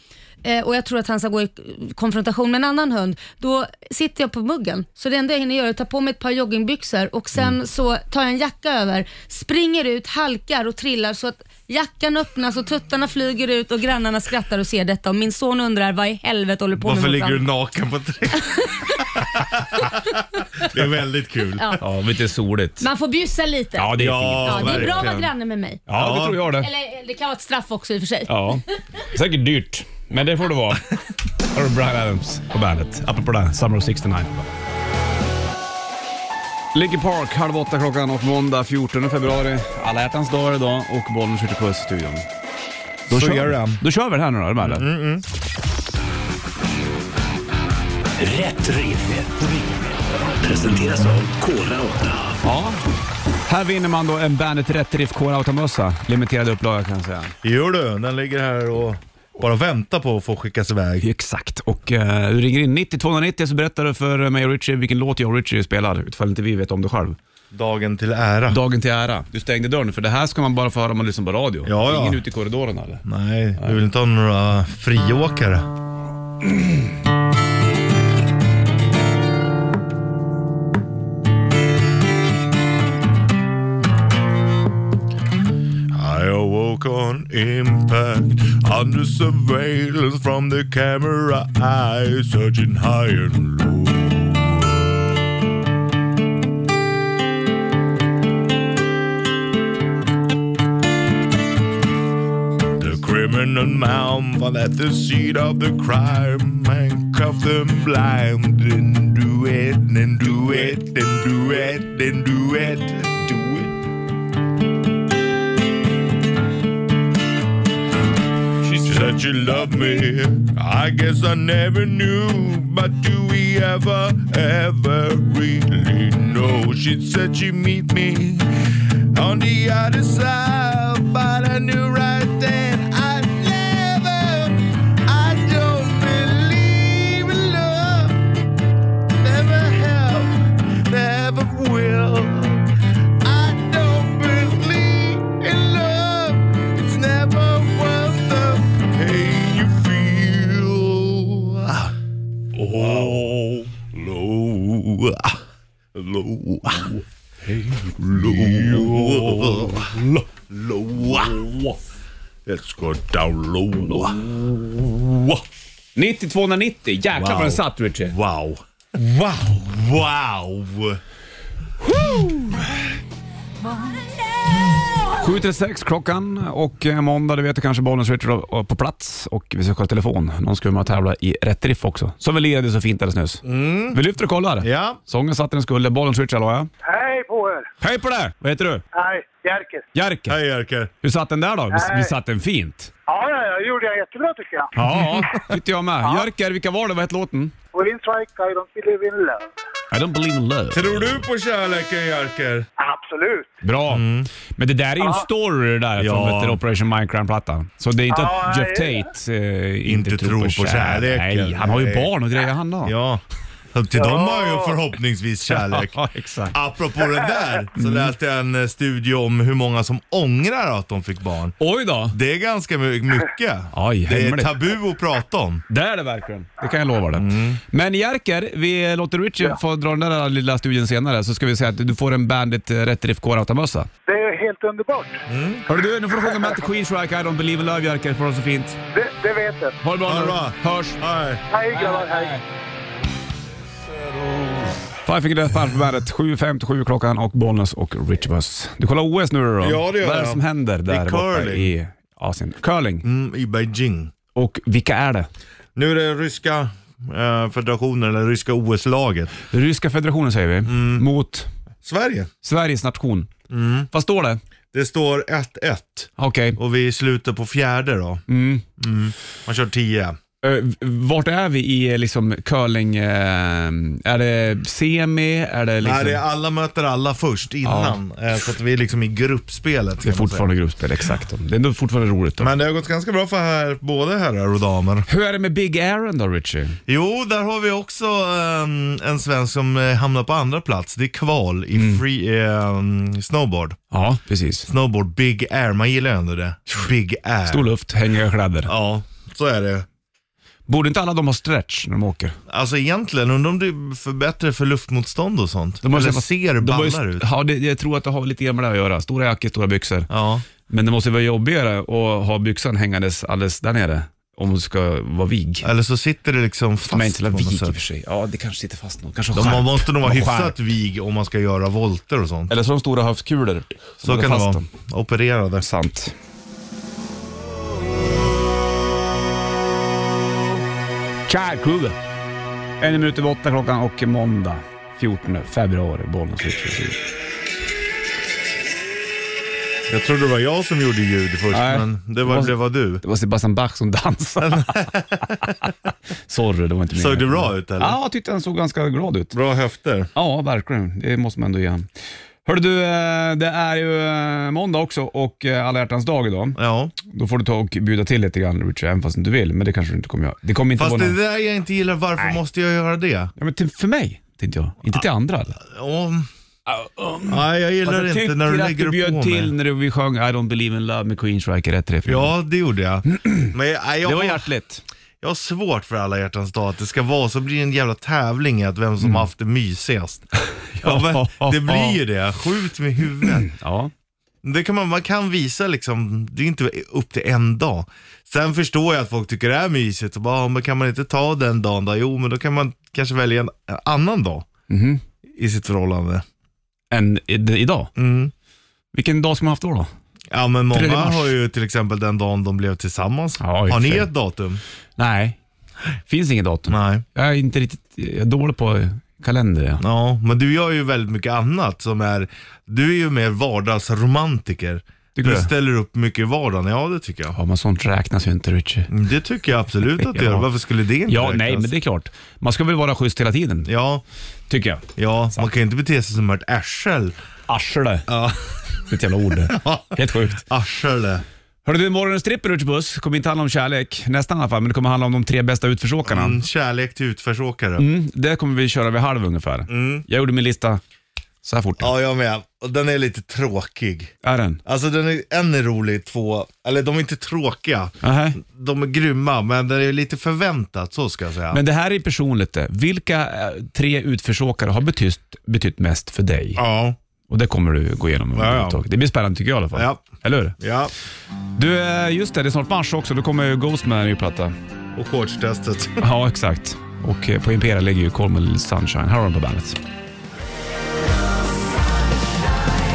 Speaker 8: eh, och jag tror att han ska gå i konfrontation med en annan hund, då sitter jag på muggen. Så det enda jag hinner göra är att ta på mig ett par joggingbyxor och sen så tar jag en jacka över, springer ut, halkar och trillar så att jackan öppnas och tuttarna flyger ut och grannarna skrattar och ser detta och min son undrar vad i helvete håller du på
Speaker 3: Varför
Speaker 8: med
Speaker 3: ligger
Speaker 8: morsan?"
Speaker 3: du naken på trädet? det är väldigt kul.
Speaker 8: Ja.
Speaker 2: Ja, lite soligt.
Speaker 8: Man får bjussa lite.
Speaker 2: Ja, det är fint.
Speaker 8: Ja, det är bra att vara
Speaker 3: verkligen.
Speaker 8: granne med mig.
Speaker 2: Ja, det
Speaker 3: Ja.
Speaker 2: tror jag det.
Speaker 8: Eller eh, det kan vara ett straff också i och för sig.
Speaker 2: Ja, säkert dyrt. Men det får det vara. Här har du Brian Adams på bandet. Apropå det, Summer of 69. Linkin Park, halv åtta klockan och måndag 14 februari. Alla hjärtans dag är det idag och bollen skjuter puss i studion. Då
Speaker 3: Så gör
Speaker 2: vi.
Speaker 3: den.
Speaker 2: Då kör vi det här nu då, är du med eller?
Speaker 1: Rätt riff. Presenteras av Kora 8.
Speaker 2: Ja. Här vinner man då en Bandet Rätt Riff Core Automössa. Limiterad upplaga kan jag säga.
Speaker 3: Jo du, den ligger här och bara väntar på att få skickas iväg.
Speaker 2: Exakt, och eh, du ringer in 90 290 så berättar du för mig och Richie vilken låt jag och Richie spelar, utifall inte vi vet om det själv.
Speaker 3: Dagen till ära.
Speaker 2: Dagen till ära. Du stängde dörren, för det här ska man bara få höra om man lyssnar på radio.
Speaker 3: Ja, ja.
Speaker 2: Ingen ute i korridoren eller?
Speaker 3: Nej, du vill inte ha några friåkare. I awoke on impact under surveillance from the camera eye searching high and low. The criminal mound fall at the seat of the crime and cuff them blind and do it and do it and do it and do it do it. She said she loved me. I guess I never knew, but do we ever ever really know? She said she meet me on the other side, but I knew right then I never, I don't believe in love. Never have, never will. I don't believe in love. It's never worth the pain you feel. Oh, low, low. Low. Low. Let's go down low.
Speaker 2: 90 290, jäklar
Speaker 3: Wow.
Speaker 2: vad den satt Richie.
Speaker 3: Wow. Wow. Wow.
Speaker 2: 7 till 6 klockan och eh, måndag, det vet du kanske, Bollnäs Richard är på plats och vi ska kolla telefon. Någon ska vara med och tävla i rätt riff också, som vi lirade så fint alldeles nyss. Vi lyfter och kollar.
Speaker 3: Ja.
Speaker 2: Sången satt den skulle, Bollnäs Richard hallå ja.
Speaker 6: Hej på er!
Speaker 2: Hej på dig! Vad heter du?
Speaker 6: Hej, Jerker.
Speaker 2: Jerker.
Speaker 3: Hej Jerker.
Speaker 2: Hur satt den där då? Vi, vi
Speaker 6: Hej.
Speaker 2: satt den fint.
Speaker 6: Ja, ja, ja, gjorde jag jättebra tycker jag.
Speaker 2: Ja, tyckte jag med. Jerker, vilka var det? Vad hette låten?
Speaker 6: Green strike, I don't believe in love.
Speaker 2: I don't believe in love.
Speaker 3: Tror du på kärleken Jerker?
Speaker 6: Absolut.
Speaker 2: Bra. Men det där är ju en story det där från
Speaker 3: Mm. Ja.
Speaker 2: vet du, Operation Minecraft-plattan. Så det är inte
Speaker 6: Ja,
Speaker 2: att Jeff
Speaker 6: nej.
Speaker 2: Tate eh, inte,
Speaker 3: Inte
Speaker 2: tror på kärlek. Nej, han har ju
Speaker 3: Nej.
Speaker 2: barn och grejer han har.
Speaker 3: Ja. Till dem har jag ju förhoppningsvis kärlek.
Speaker 2: Ja, exakt.
Speaker 3: Apropå det där så läste jag en eh, studie om hur många som ångrar att de fick barn.
Speaker 2: Oj då.
Speaker 3: Det är ganska my- mycket.
Speaker 2: Oj,
Speaker 3: det är
Speaker 2: hemligt.
Speaker 3: tabu att prata om.
Speaker 2: Det är det verkligen. Det kan jag lova dig.
Speaker 3: Mm.
Speaker 2: Men Jerker, vi låter Richard få dra den där lilla studien senare så ska vi säga att du får en Bandit eh, Rätt Riff K-automössa.
Speaker 6: Det är helt underbart.
Speaker 2: Hörru Mm. du, nu får du sjunga med till Queen Strike I Don't Believe in Love Jerker, för det så fint.
Speaker 6: Det, det vet jag.
Speaker 2: Ha det bra
Speaker 3: Ha det
Speaker 2: nu.
Speaker 3: bra.
Speaker 2: Hörs.
Speaker 3: Hej.
Speaker 6: Hej grabbar, hej.
Speaker 3: Äh.
Speaker 2: Five Finger Death Punch på bandet. 7.57 klockan och Bollnäs och Richbus. Du kollar OS nu då?
Speaker 3: Ja, det gör
Speaker 2: Vad är det
Speaker 3: jag.
Speaker 2: som händer
Speaker 3: Det är
Speaker 2: där borta
Speaker 3: curling.
Speaker 2: i Asien? Curling.
Speaker 3: Mm, I Beijing.
Speaker 2: Och vilka är det?
Speaker 3: Nu är det ryska eh, federationen, eller ryska OS-laget.
Speaker 2: Ryska federationen säger vi,
Speaker 3: Mm.
Speaker 2: mot
Speaker 3: Sverige.
Speaker 2: Sveriges nation.
Speaker 3: Mm.
Speaker 2: Vad står det?
Speaker 3: Det står 1-1
Speaker 2: Okej,
Speaker 3: och vi slutar på fjärde då. Mm. Man kör 10.
Speaker 2: Eh, v- vart är vi i eh, liksom curling? eh, Är det semi? Är det liksom...
Speaker 3: Nej, det är alla möter alla först innan. eh, Så att vi är liksom i gruppspelet.
Speaker 2: det är
Speaker 3: kan man säga.
Speaker 2: fortfarande gruppspel, exakt. Det är ändå fortfarande roligt. Då.
Speaker 3: Men det har gått ganska bra för här, både herrar och damer.
Speaker 2: Hur är det med Big Aaron då, Richie?
Speaker 3: Jo, där har vi också ehm, en svensk som eh, hamnar på andra plats. Det är kval i free, ehm, snowboard.
Speaker 2: Ja, precis.
Speaker 3: Snowboard, big air. Man gillar ju ändå det. Big air.
Speaker 2: Stor luft, hängiga kläder.
Speaker 3: Ja, så är det.
Speaker 2: Borde inte alla de ha stretch när de åker?
Speaker 3: Alltså egentligen, undrar om det är för bättre för luftmotstånd och sånt.
Speaker 2: har
Speaker 3: Eller
Speaker 2: ju-
Speaker 3: ser
Speaker 2: de har ju-
Speaker 3: ballar ut.
Speaker 2: Ja, det, jag tror att det har lite grann med det att göra. Stora jackor, stora byxor.
Speaker 3: Ja.
Speaker 2: Men det måste vara jobbigare att ha byxan hängandes alldeles där nere om du ska vara vig.
Speaker 3: Eller så sitter det liksom fast
Speaker 2: Men inte
Speaker 3: på
Speaker 2: lilla
Speaker 3: något
Speaker 2: vig i och
Speaker 3: sätt.
Speaker 2: för sig. Ja, det kanske sitter fast någon. Kanske
Speaker 3: De
Speaker 2: skärp.
Speaker 3: man måste nog vara
Speaker 2: De har skärp.
Speaker 3: hyfsat vig om man ska göra volter och sånt.
Speaker 2: Eller så har de stora höftkulor. som
Speaker 3: Så
Speaker 2: håller
Speaker 3: kan det
Speaker 2: fast
Speaker 3: vara.
Speaker 2: dem.
Speaker 3: Opererade.
Speaker 2: Sant. Chad Kruger. En minut över åtta klockan och måndag 14 februari. Bollnäs
Speaker 3: Jag trodde det var jag som gjorde ljud först,
Speaker 2: Nej.
Speaker 3: men det var, det var du.
Speaker 2: Det var Sebastian Bach som dansade. Sorry, det var inte
Speaker 3: Såg det
Speaker 2: meningen.
Speaker 3: bra ut eller?
Speaker 2: Ja, jag tyckte han såg ganska glad ut.
Speaker 3: Bra höfter.
Speaker 2: Ja, verkligen. Det måste man ändå ge han. Hörru du, eh, det är ju eh, måndag också och eh, alla hjärtans dag idag.
Speaker 3: Ja.
Speaker 2: Då får du ta och bjuda till lite grann Richard, även fast du inte vill. Men det kanske du inte kommer göra. Det kommer inte
Speaker 3: Fast
Speaker 2: vara
Speaker 3: det
Speaker 2: någon...
Speaker 3: där jag inte gillar, varför måste jag göra det?
Speaker 2: ja, men till, För mig, tänkte jag. Inte till andra eller?
Speaker 3: Om... Nej, jag gillar
Speaker 2: jag
Speaker 3: inte när du
Speaker 2: um. Alltså, att du
Speaker 3: lägger
Speaker 2: bjöd
Speaker 3: på
Speaker 2: till
Speaker 3: mig.
Speaker 2: när du, vi sjöng I don't believe in love med Queenstrike i rätt tre fyra.
Speaker 3: Ja, det gjorde jag. Men jag, nej, jag,
Speaker 2: Det var
Speaker 3: har,
Speaker 2: hjärtligt.
Speaker 3: jag har svårt för alla hjärtans dag, att det ska vara så blir det en jävla tävling i att vem som
Speaker 2: Mm.
Speaker 3: har haft det mysigast. ja, men, det blir ju det, skjut med huvudet.
Speaker 2: Ja.
Speaker 3: Det kan man, man kan visa liksom, det är inte upp till en dag. Sen förstår jag att folk tycker det är mysigt, och bara, "Ja, men kan man inte ta den dagen då? Jo, men då kan man kanske välja en eh, annan dag
Speaker 2: Mhm.
Speaker 3: i sitt förhållande.
Speaker 2: Än i- d- idag.
Speaker 3: Mm.
Speaker 2: Vilken dag ska man haft då? då?
Speaker 3: Ja, men
Speaker 2: Tredje
Speaker 3: många
Speaker 2: mars.
Speaker 3: har ju till exempel den dagen de blev tillsammans.
Speaker 2: Ja, i och
Speaker 3: har ni
Speaker 2: för sig.
Speaker 3: ett datum?
Speaker 2: Nej, finns inget datum.
Speaker 3: Nej.
Speaker 2: Jag är inte riktigt jag är dålig på kalender. Ja.
Speaker 3: Ja, men du gör ju väldigt mycket annat som är, du är ju mer vardagsromantiker.
Speaker 2: Tycker
Speaker 3: du
Speaker 2: du?
Speaker 3: ställer upp mycket i vardagen, ja det tycker jag.
Speaker 2: ja, men sånt räknas ju inte Richie.
Speaker 3: Det tycker jag absolut att du
Speaker 2: Ja.
Speaker 3: gör, varför skulle det inte
Speaker 2: Ja,
Speaker 3: räknas?
Speaker 2: nej, men det är klart. Man ska väl vara schysst hela tiden,
Speaker 3: Ja,
Speaker 2: tycker jag.
Speaker 3: ja man kan ju inte bete sig som ett arsel.
Speaker 2: Arsle.
Speaker 3: Ja.
Speaker 2: Det är ett jävla ord. Helt sjukt.
Speaker 3: Arsel.
Speaker 2: Hörru du, morgonens trippel Richie Puss kommer inte handla om kärlek, nästan i alla fall, men det kommer handla om de tre bästa utförsåkarna.
Speaker 3: Mm, kärlek till utförsåkare.
Speaker 2: Mm, det kommer vi köra vid halv ungefär.
Speaker 3: Mm.
Speaker 2: Jag gjorde min lista så här fort.
Speaker 3: Ja, jag med. Och den är lite tråkig.
Speaker 2: Är den?
Speaker 3: Alltså den är, en är rolig, två, eller de är inte tråkiga.
Speaker 2: Aha.
Speaker 3: De är grymma, men det är lite förväntat, så ska jag säga.
Speaker 2: Men det här är personligt det. Vilka eh, tre utförsåkare har betytt, betytt mest för dig?
Speaker 3: Ja,
Speaker 2: Och det kommer du gå igenom.
Speaker 3: Ja, ja.
Speaker 2: Det blir spännande tycker jag i alla fall.
Speaker 3: Ja.
Speaker 2: Eller hur?
Speaker 3: ja.
Speaker 2: Du, eh, just det, det är snart mars också. Då kommer ju Ghost med en ny platta.
Speaker 3: Och shortstestet.
Speaker 2: Ja, exakt. Och eh, på Impera ligger ju Colmel Sunshine. Här har de på bandet.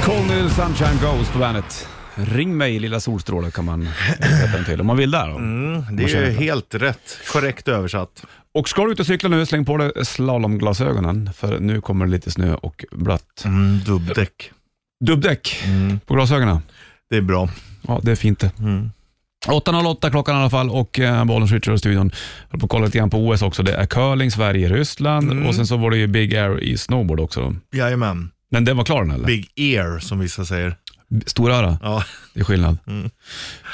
Speaker 2: Colmel Sunshine Ghost på bandet. Ring mig lilla solstråle kan man sätta den till om man vill där. Då.
Speaker 3: Mm, Det är
Speaker 2: känner
Speaker 3: ju
Speaker 2: det.
Speaker 3: helt rätt. Korrekt översatt.
Speaker 2: Och ska du ut och cykla nu, släng på dig slalomglasögonen för nu kommer det lite snö och blött.
Speaker 3: Mm, dubbdäck.
Speaker 2: Dubbdäck på glasögonen.
Speaker 3: Det är bra.
Speaker 2: Ja, det är fint det. 8.08 klockan i alla fall och eh, bollen switchar i studion. Jag håller på att kolla lite grann på OS också. Det är curling, Sverige, Ryssland och sen så var det ju Big Air i snowboard också.
Speaker 3: Jajamän.
Speaker 2: Men den var klar den eller?
Speaker 3: Big ear, som vissa säger.
Speaker 2: Storöra,
Speaker 3: Ja. Mm.
Speaker 2: det är skillnad.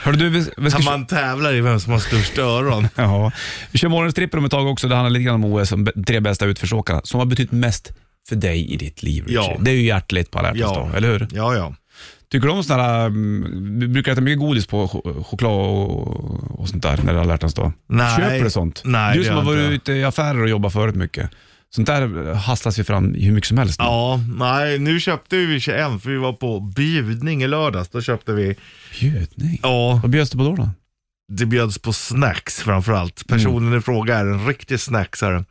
Speaker 2: Hörru du, vi, vi ska...
Speaker 3: När man tävlar i vem som har störst öron.
Speaker 2: Ja, vi kör morgonens trippel om ett tag också. Det handlar lite grann om OS, om be- tre bästa utförsåkarna som har betytt mest för dig i ditt liv. Richie.
Speaker 3: Ja.
Speaker 2: Det är ju hjärtligt på alla hjärtans
Speaker 3: Ja.
Speaker 2: dag, eller hur? Mm.
Speaker 3: Ja, ja.
Speaker 2: Tycker du om sådana här, mm, vi brukar äta mycket godis på ch- choklad och, och sånt där när det är alla hjärtans dag.
Speaker 3: Nej.
Speaker 2: Köper du sånt?
Speaker 3: Nej,
Speaker 2: du
Speaker 3: det
Speaker 2: som
Speaker 3: gör
Speaker 2: har
Speaker 3: jag
Speaker 2: varit
Speaker 3: inte.
Speaker 2: ute i affärer och jobbat förut mycket. Sånt där hasslas ju fram hur mycket som helst. nu.
Speaker 3: Ja, nej, nu köpte vi 21 för vi var på bjudning i lördags. Då köpte vi,
Speaker 2: Bjudning.
Speaker 3: ja,
Speaker 2: Vad bjöds det på då? då?
Speaker 3: det bjöds på snacks framförallt.
Speaker 2: Mm.
Speaker 3: Personen i fråga är en riktig snacksare.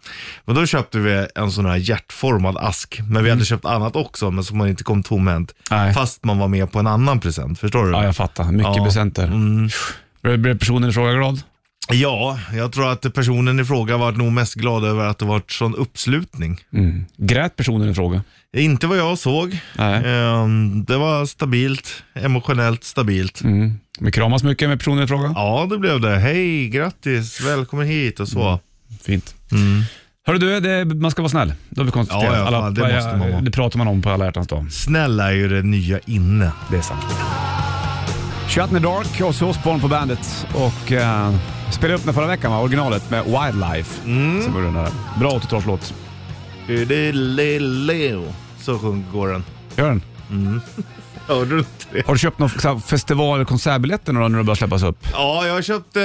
Speaker 3: Men då köpte vi en sån här hjärtformad ask. Men vi hade köpt annat också, men som man inte kom tomhänt.
Speaker 2: Mm. Nej.
Speaker 3: Fast man var med på en annan present, förstår du?
Speaker 2: Ja, jag fattar. Mycket
Speaker 3: Ja.
Speaker 2: presenter.
Speaker 3: Mm.
Speaker 2: Blev- Blev personen i fråga glad?
Speaker 3: Ja, jag tror att personen i fråga var nog mest glad över att det var sån uppslutning.
Speaker 2: Mm. Grät personen i fråga?
Speaker 3: Inte vad jag såg.
Speaker 2: Nej.
Speaker 3: Ehm, Det var stabilt, emotionellt stabilt.
Speaker 2: Mm. Men kramas mycket med personen i fråga?
Speaker 3: Ja, det blev det. Hej, grattis, välkommen hit och
Speaker 2: Mm.
Speaker 3: så.
Speaker 2: Fint. Hörru du, det, man ska vara snäll. Det har vi konstaterat.
Speaker 3: Mm. Ja, ja,
Speaker 2: Alla-
Speaker 3: fan, det måste man vara.
Speaker 2: det pratar man om på alla hjärtans dag.
Speaker 3: Snäll är ju det nya inne.
Speaker 2: Det är sant. Shut in the Dark, Ozzy Osbourne på bandet och eh, spelade upp den förra veckan, va? originalet med Wildlife.
Speaker 3: Mm.
Speaker 2: Så var det den där. Bra 80-talslåt.
Speaker 3: Udeleleo. Så sjung- går den.
Speaker 2: Gör den.
Speaker 3: Hörde du inte det?
Speaker 2: Har du köpt någon så här festival eller konsertbiljetter nu då, när det börjar släppas upp?
Speaker 3: Ja, jag har köpt, eh,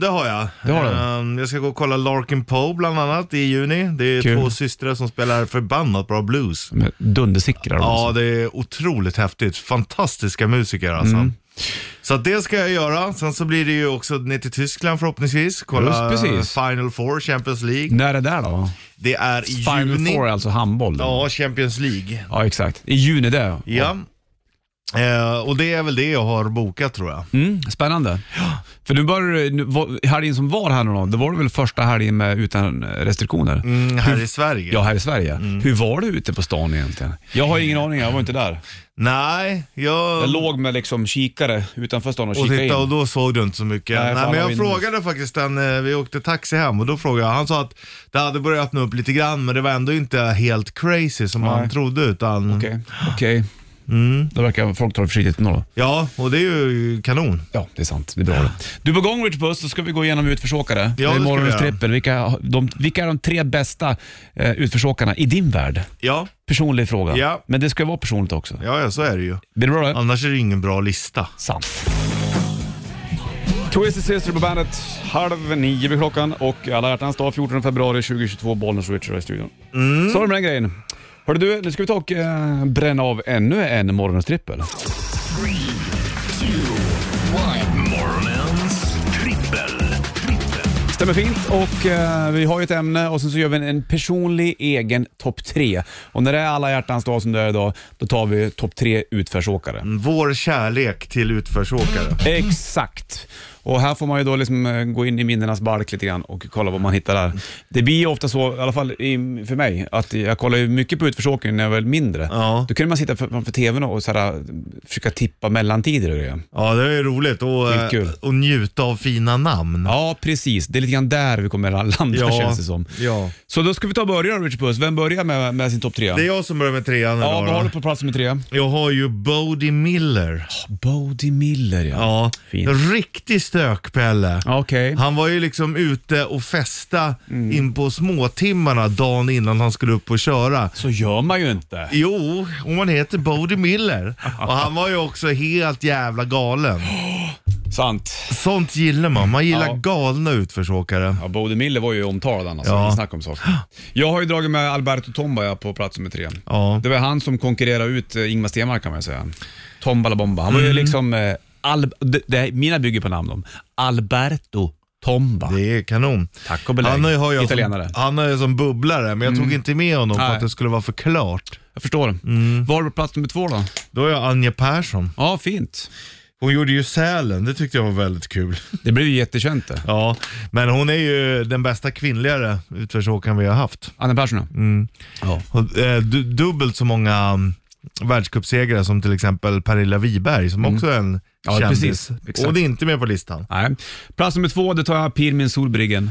Speaker 3: det har jag.
Speaker 2: Det har du.
Speaker 3: Ehm, Jag ska gå och kolla Larkin Poe bland annat i juni. Det är
Speaker 2: Kul.
Speaker 3: två systrar som spelar förbannat bra blues.
Speaker 2: Med dundersickrar. och
Speaker 3: Ja,
Speaker 2: så.
Speaker 3: det är otroligt häftigt. Fantastiska musiker alltså.
Speaker 2: Mm.
Speaker 3: Så att det ska jag göra. Sen så blir det ju också ner till Tyskland förhoppningsvis. Kolla
Speaker 2: Just precis.
Speaker 3: eh, Final Four, Champions League.
Speaker 2: När är det där då?
Speaker 3: Det är i
Speaker 2: Final
Speaker 3: juni.
Speaker 2: Four, alltså handboll. då.
Speaker 3: Ja, Champions League.
Speaker 2: ja, exakt. I juni det.
Speaker 3: Ja. Eh, och det är väl det jag har bokat tror jag.
Speaker 2: Mm, spännande. För nu börjar du- nu var- helgen som var här någon det var det väl första helgen med, utan restriktioner?
Speaker 3: Mm, här i Sverige.
Speaker 2: Ja, här i Sverige. Hur var det ute på stan egentligen? Jag har ingen aning, jag var inte där.
Speaker 3: Nej, jag...
Speaker 2: Jag låg med liksom kikare utanför stan och
Speaker 3: Mm. Och
Speaker 2: kikade in.
Speaker 3: titta, och då såg du inte så mycket.
Speaker 2: Nej,
Speaker 3: Nej,
Speaker 2: fan,
Speaker 3: men
Speaker 2: vad vi-
Speaker 3: jag frågade faktiskt den, eh, vi åkte taxi hem och då frågade jag, han sa att det hade börjat öppna upp lite grann men det var ändå inte helt crazy som
Speaker 2: Nej.
Speaker 3: man trodde utan,
Speaker 2: Okej, okej.
Speaker 3: Mm.
Speaker 2: Då verkar folk ta det försiktigt nu då.
Speaker 3: ja och det är ju kanon.
Speaker 2: Ja, det är sant. Det är bra det. Du är på gång Rich Puss, då ska vi gå igenom utförsåkare.
Speaker 3: det
Speaker 2: det
Speaker 3: ska
Speaker 2: är
Speaker 3: vi
Speaker 2: morgonens
Speaker 3: göra.
Speaker 2: trippel. Vilka, de, vilka är de tre bästa eh, utförsåkarna i din värld?
Speaker 3: Ja,
Speaker 2: Personlig fråga.
Speaker 3: Ja.
Speaker 2: Men det ska vara personligt också.
Speaker 3: ja, ja så är det ju.
Speaker 2: Blir det bra det?
Speaker 3: Annars är det ingen bra lista.
Speaker 2: Sant. Twisted Sister på bandet. Halv nio blir klockan och alla hjärtans dag 14 februari 2022. Bollnäs och Richard är i studion. Så var det med den grejen. Hörru du, nu ska vi ta och eh, bränna av ännu en morgonens trippel.
Speaker 1: Morgonens trippel.
Speaker 2: Stämmer fint och eh, vi har ju ett ämne och sen så gör vi en, en personlig egen topp tre. Och när det är alla hjärtans dag som det är idag, då tar vi topp tre utförsåkare.
Speaker 3: Vår kärlek till utförsåkare.
Speaker 2: Exakt. Och här får man ju då liksom eh, gå in i minnenas balk lite grann och kolla vad man hittar där. Det blir ju ofta så, i alla fall i, för mig, att jag kollar ju mycket på utförsåkning när jag var mindre.
Speaker 3: Ja.
Speaker 2: Då kunde man sitta för- framför tvn och så här, eh, försöka tippa mellantider och grejer.
Speaker 3: Ja, det är ju roligt och, eh,
Speaker 2: Skitkul.
Speaker 3: och njuta av fina namn.
Speaker 2: Ja, precis. Det är lite grann där vi kommer att landa känns det som.
Speaker 3: ja.
Speaker 2: Så då ska vi ta och börja Richard Puss. Vem börjar med, med sin topp tre?
Speaker 3: Det är jag som börjar med
Speaker 2: Ja,
Speaker 3: trean idag
Speaker 2: vad har
Speaker 3: då.
Speaker 2: du på plats nummer tre?
Speaker 3: Jag har ju Bodie Miller.
Speaker 2: Bodie Miller ja.
Speaker 3: Ja,
Speaker 2: Fint.
Speaker 3: en riktig stökpelle.
Speaker 2: Okej.
Speaker 3: Han var ju liksom ute och festa in på småtimmarna dagen innan han skulle upp och köra.
Speaker 2: Så gör man ju inte.
Speaker 3: Jo, och man heter Bodie Miller. Och han var ju också helt jävla galen.
Speaker 2: Sant.
Speaker 3: Sånt gillar man. Man gillar
Speaker 2: Ja.
Speaker 3: galna utförsåkare.
Speaker 2: Ja, Bodil Miller var ju omtalad annars,
Speaker 3: Ja.
Speaker 2: ja. snack om saker. Jag har ju dragit med Alberto Tomba på plats nummer tre.
Speaker 3: Ja.
Speaker 2: Det var han som konkurrerade ut eh, Ingmar Stenmark kan man ju säga. Tomba la bomba. Han var
Speaker 3: Mm.
Speaker 2: ju liksom, eh, Al- det, det, mina bygger på namn om. Alberto Tomba.
Speaker 3: Det är kanon.
Speaker 2: Tack och belägg.
Speaker 3: Han har ju- har jag
Speaker 2: Italienare. Mm.
Speaker 3: Som, han har ju som bubblare, men jag tog inte med honom för
Speaker 2: Nej.
Speaker 3: att det skulle vara för klart.
Speaker 2: Jag förstår.
Speaker 3: Mm.
Speaker 2: Var på plats nummer två då?
Speaker 3: Då är jag Anja Persson.
Speaker 2: Ja, fint.
Speaker 3: Hon gjorde ju Sälen, det tyckte jag var väldigt kul.
Speaker 2: Det blev ju jättekänt eh, det.
Speaker 3: Ja, men hon är ju den bästa kvinnligare utförsåkaren vi har haft.
Speaker 2: Anna Persson då?
Speaker 3: Mm.
Speaker 2: ja.
Speaker 3: Och, eh, du, dubbelt så många mm, världscupsegrar som till exempel Pernilla Wiberg som också är en
Speaker 2: Mm. Ja,
Speaker 3: kändis.
Speaker 2: precis. Exakt. Mm.
Speaker 3: Och det är inte med på listan.
Speaker 2: Nej. Plats nummer två, det tar jag Pirmin Solbriggen.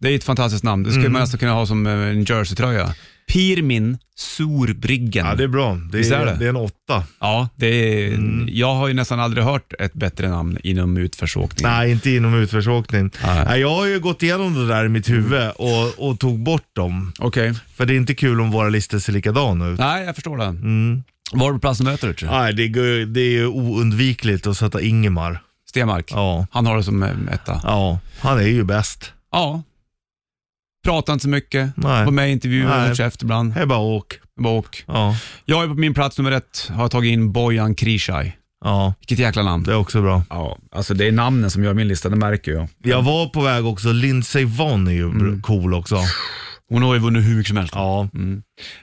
Speaker 2: Det är ett fantastiskt namn. Det
Speaker 3: Mm.
Speaker 2: skulle man nästan kunna ha som eh, en jerseytröja. Pirmin Solbriggen.
Speaker 3: Ja, det är bra. Det
Speaker 2: Visst är
Speaker 3: är,
Speaker 2: det?
Speaker 3: det? är en åtta.
Speaker 2: Ja, det är, jag har ju nästan aldrig hört ett bättre namn inom utförsåkning.
Speaker 3: Nej, inte inom utförsåkning.
Speaker 2: Nej.
Speaker 3: Nej. jag har ju gått igenom det där i mitt huvud och, och tog bort dem.
Speaker 2: Okej.
Speaker 3: För det är inte kul om våra listor ser likadana ut.
Speaker 2: Nej, jag förstår det. Mm. Var på plats möter du?
Speaker 3: Nej, det, går- det är ju oundvikligt att sätta Ingemar.
Speaker 2: Stenmark.
Speaker 3: Ja.
Speaker 2: Han har det som eh, etta. Ja.
Speaker 3: Ja, han är ju bäst.
Speaker 2: Pratar inte så mycket.
Speaker 3: Nej.
Speaker 2: Var med i intervjuer,
Speaker 3: Nej.
Speaker 2: håller käft ibland.
Speaker 3: Det är bara åk.
Speaker 2: Och
Speaker 3: Ja,
Speaker 2: jag är på min plats nummer ett, har jag tagit in Bojan Krishaj.
Speaker 3: ja,
Speaker 2: Vilket jäkla namn.
Speaker 3: det är också bra.
Speaker 2: Ja, alltså det är namnen som gör min lista, det märker jag.
Speaker 3: Jag var på väg också, Lindsey Vonn är ju br- cool också.
Speaker 2: Hon har ju vunnit hur mycket som helst.
Speaker 3: Ja,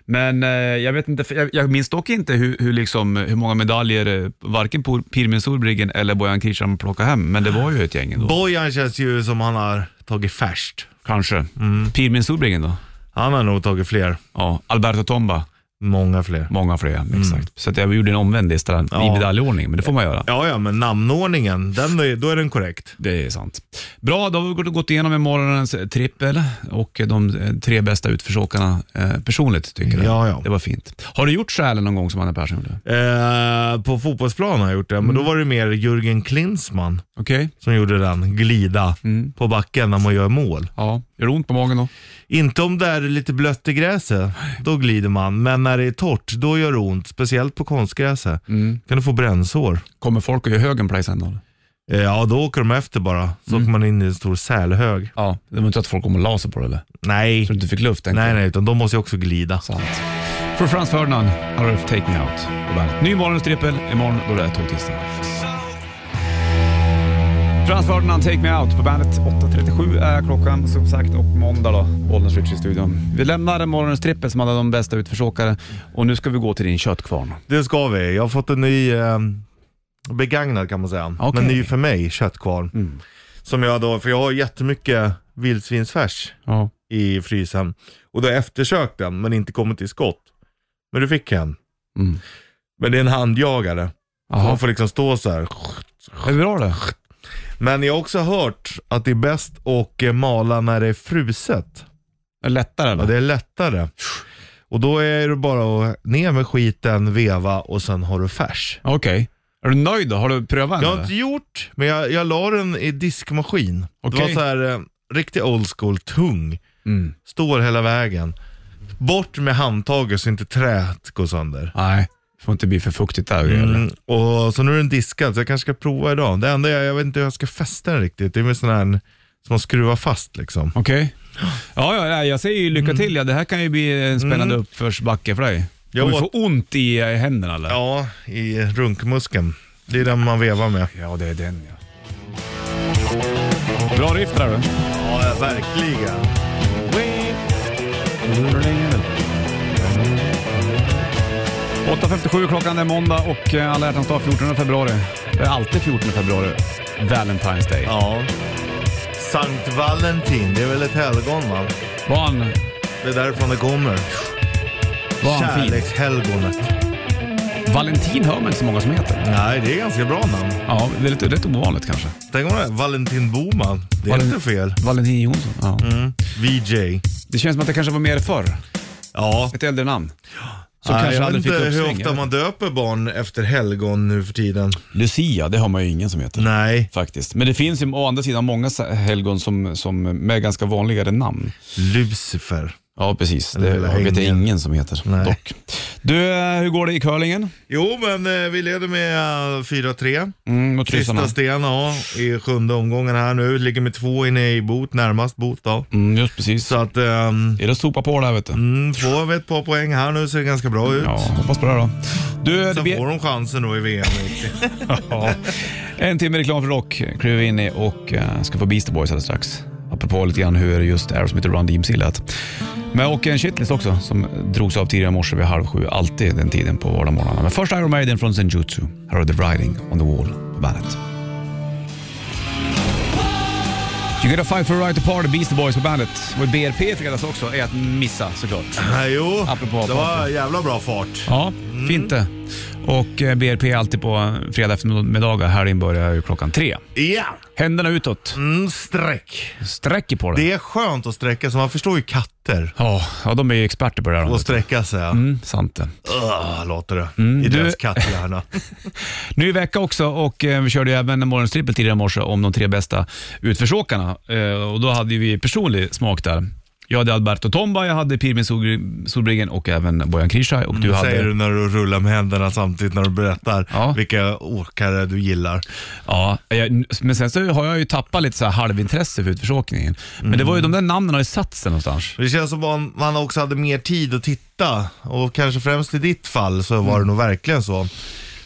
Speaker 2: Men eh, jag vet inte, för jag, jag minns dock inte hur, hur, liksom, hur många medaljer eh, varken Por- Pirmin Solbriggen eller Bojan Krishan plockade hem, men det var ju ett gäng ändå.
Speaker 3: Bojan känns ju som han har tagit färskt.
Speaker 2: Kanske.
Speaker 3: Mm.
Speaker 2: Pirmin Solbriggen då?
Speaker 3: Han har nog tagit fler,
Speaker 2: Ja, Alberto Tomba,
Speaker 3: många fler.
Speaker 2: många fler. Exakt. Så att jag gjorde en omvänd lista där, i
Speaker 3: Mm. Ja.
Speaker 2: medaljordning, men det får man göra.
Speaker 3: Ja, ja, men namnordningen, den är, då är den korrekt.
Speaker 2: Det är sant. Bra, då har vi gått- gått igenom morgonens trippel och de eh, tre bästa utförsåkarna eh, personligt tycker jag.
Speaker 3: Ja, ja.
Speaker 2: Det var fint. Har du gjort skälen någon gång som Anna Persson gjorde?
Speaker 3: Eh, på fotbollsplan har jag gjort det, men då var det mer Jürgen Klinsmann
Speaker 2: Okej.
Speaker 3: som gjorde den, glida på backen när man gör mål.
Speaker 2: Ja. Gör det ont på magen då?
Speaker 3: Inte om det är lite blött i gräset, då glider man, men när det är torrt, då gör det ont. Speciellt på konstgräset. kan du få brännsår.
Speaker 2: Kommer folk och gör högen på dig sen då?
Speaker 3: Eh, Ja, då åker de efter bara.
Speaker 2: Mm.
Speaker 3: Så åker man in i en stor sälhög.
Speaker 2: Ja. Det var inte att folk kom och la sig på det eller?
Speaker 3: Nej,
Speaker 2: Så du inte fick luft? tänker
Speaker 3: nej,
Speaker 2: jag.
Speaker 3: nej, utan de måste ju också glida.
Speaker 2: Sant. För Franz Ferdinand, här har du Take Me Out på bandet. Ny morgonstrippel, imorgon då det är tågtisdag. Frans Ferdinand, Take Me Out på bandet. 8.37 är klockan som sagt och måndag då, Bollnäs Ritchie i studion. Vi lämnar morgonens trippel som hade de bästa utförsåkare och nu ska vi gå till din köttkvarn.
Speaker 3: Det ska vi. Jag har fått en ny, eh, begagnad kan man säga,
Speaker 2: Okej. Mm.
Speaker 3: men ny för mig, köttkvarn. Som jag då, för jag har jättemycket vildsvinsfärs
Speaker 2: Ja.
Speaker 3: i frysen. Och då har jag eftersökt den, men inte kommit till skott. Men du fick en.
Speaker 2: Mm.
Speaker 3: Men det är en handjagare. Så
Speaker 2: Jaha.
Speaker 3: man får liksom stå så här.
Speaker 2: Är det bra det?
Speaker 3: Men jag har också hört att det är bäst att eh, mala när det är fruset.
Speaker 2: Är det Lättare
Speaker 3: Ja,
Speaker 2: eller?
Speaker 3: det är lättare. Och då är det bara att ner med skiten, veva och sen har du färs.
Speaker 2: Okej. Är du nöjd då? Har du prövat den?
Speaker 3: Jag har
Speaker 2: eller?
Speaker 3: inte gjort, men jag, jag la den i diskmaskin.
Speaker 2: Okej.
Speaker 3: Det var så här eh, riktig old school, tung.
Speaker 2: Mm.
Speaker 3: Står hela vägen. Bort med handtaget så inte träet går sönder.
Speaker 2: Nej, det får inte bli för fuktigt där eller?
Speaker 3: Mm. Och så nu är den diskad, så jag kanske ska prova idag. Det enda jag, jag vet inte hur jag ska fästa den riktigt. Det är med sån här som man skruvar fast liksom.
Speaker 2: Okej. Ja, ja, ja, jag säger ju lycka till. Ja, det här kan ju bli en spännande uppförsbacke för dig. Du
Speaker 3: Jag
Speaker 2: kommer
Speaker 3: åt-
Speaker 2: få ont i eh, händerna eller?
Speaker 3: Ja, i runkmuskeln. Det är den man vevar med.
Speaker 2: ja, det är den ja. Bra riff där du.
Speaker 3: Ja, verkligen.
Speaker 2: Wait. 8.57 klockan, det är måndag och eh, alla hjärtans dag 14 februari. Det är alltid 14 februari, Valentine's Day.
Speaker 3: Ja. Sankt Valentin, det är väl ett helgon va?
Speaker 2: Var han,
Speaker 3: Det är därifrån det kommer.
Speaker 2: var han fin?
Speaker 3: Kärlekshelgonet.
Speaker 2: Valentin hör man inte så många som heter.
Speaker 3: Nej, det är ganska bra namn.
Speaker 2: Ja, det är lite, rätt ovanligt kanske.
Speaker 3: Tänk om det är Valentin Boman. Det är
Speaker 2: Valen-
Speaker 3: inte fel.
Speaker 2: Valentin Jonsson. Ja.
Speaker 3: VJ.
Speaker 2: Det känns som att det kanske var mer förr.
Speaker 3: Ja.
Speaker 2: Ett äldre namn. Som
Speaker 3: Nej,
Speaker 2: kanske
Speaker 3: jag vet
Speaker 2: aldrig fick
Speaker 3: inte hur
Speaker 2: uppsving.
Speaker 3: ofta man döper barn efter helgon nu för tiden.
Speaker 2: Lucia, det har man ju ingen som heter.
Speaker 3: Nej.
Speaker 2: Faktiskt. Men det finns ju å andra sidan många helgon som, som med ganska vanligare namn.
Speaker 3: Lucifer.
Speaker 2: Ja, precis.
Speaker 3: Eller
Speaker 2: Det vet jag
Speaker 3: ingen.
Speaker 2: ingen som heter
Speaker 3: Nej.
Speaker 2: dock. Du, eh, hur går det i curlingen?
Speaker 3: Jo, men eh, vi leder med eh, 4-3.
Speaker 2: Mm, mot
Speaker 3: Sista
Speaker 2: ryssarna.
Speaker 3: sten, ja, i sjunde omgången här nu. Ligger med två inne i bot, närmast bot då.
Speaker 2: Mm, just precis.
Speaker 3: Så att, ehm,
Speaker 2: Är det att sopa på där vet du?
Speaker 3: mm, får vi ett par poäng här nu ser det ganska bra ut.
Speaker 2: Ja, hoppas på det då. Du, det
Speaker 3: Sen
Speaker 2: blir...
Speaker 3: får de chansen då i VM.
Speaker 2: Ja. En timme reklam för rock kliver vi in i och eh, ska få Beastie Boys alldeles strax. Apropå lite grann hur just Aerosmith och Run DMC lät. Men och en shitlist också som drogs av tidigare i morse vid halv sju. Alltid den tiden på vardagsmorgnarna. Men först Iron Maiden från Senjutsu. Här har The Riding on the Wall på bandet. You got a fight for a right to party, Beastie Boys på bandet. Och BRP i fredags också är att missa såklart.
Speaker 3: Nej, jo,
Speaker 2: Apropå
Speaker 3: det var jävla bra fart.
Speaker 2: Ja, fint det. Och eh, BRP är alltid på eh, fredag eftermiddagar. Helgen börjar ju klockan tre.
Speaker 3: Ja,
Speaker 2: Händerna utåt.
Speaker 3: mm, sträck.
Speaker 2: Sträcker på dig.
Speaker 3: Det är skönt att sträcka sig, man förstår ju katter.
Speaker 2: Ja, ja, de är ju experter på det här.
Speaker 3: Och
Speaker 2: området.
Speaker 3: sträcka sig.
Speaker 2: Mm, sant det.
Speaker 3: Ugh, låter det. I
Speaker 2: du-
Speaker 3: deras katthjärna.
Speaker 2: Ny vecka också och eh, vi körde ju även en morgonstrippel tidigare i morse om de tre bästa utförsåkarna. Eh, och då hade ju vi personlig smak där. Jag hade Alberto Tomba, jag hade Pirmin Sol- Solbringen och även Bojan Krishaj. Och Mm, du
Speaker 3: Du
Speaker 2: hade...
Speaker 3: Säger du när du rullar med händerna samtidigt när du berättar
Speaker 2: Ja.
Speaker 3: vilka åkare du gillar.
Speaker 2: Ja, jag, men sen så har jag ju tappat lite så här halvintresse för utförsåkningen. Men det var ju de där namnen har ju satt sig någonstans.
Speaker 3: Det känns som att man också hade mer tid att titta och kanske främst i ditt fall så var det nog verkligen så.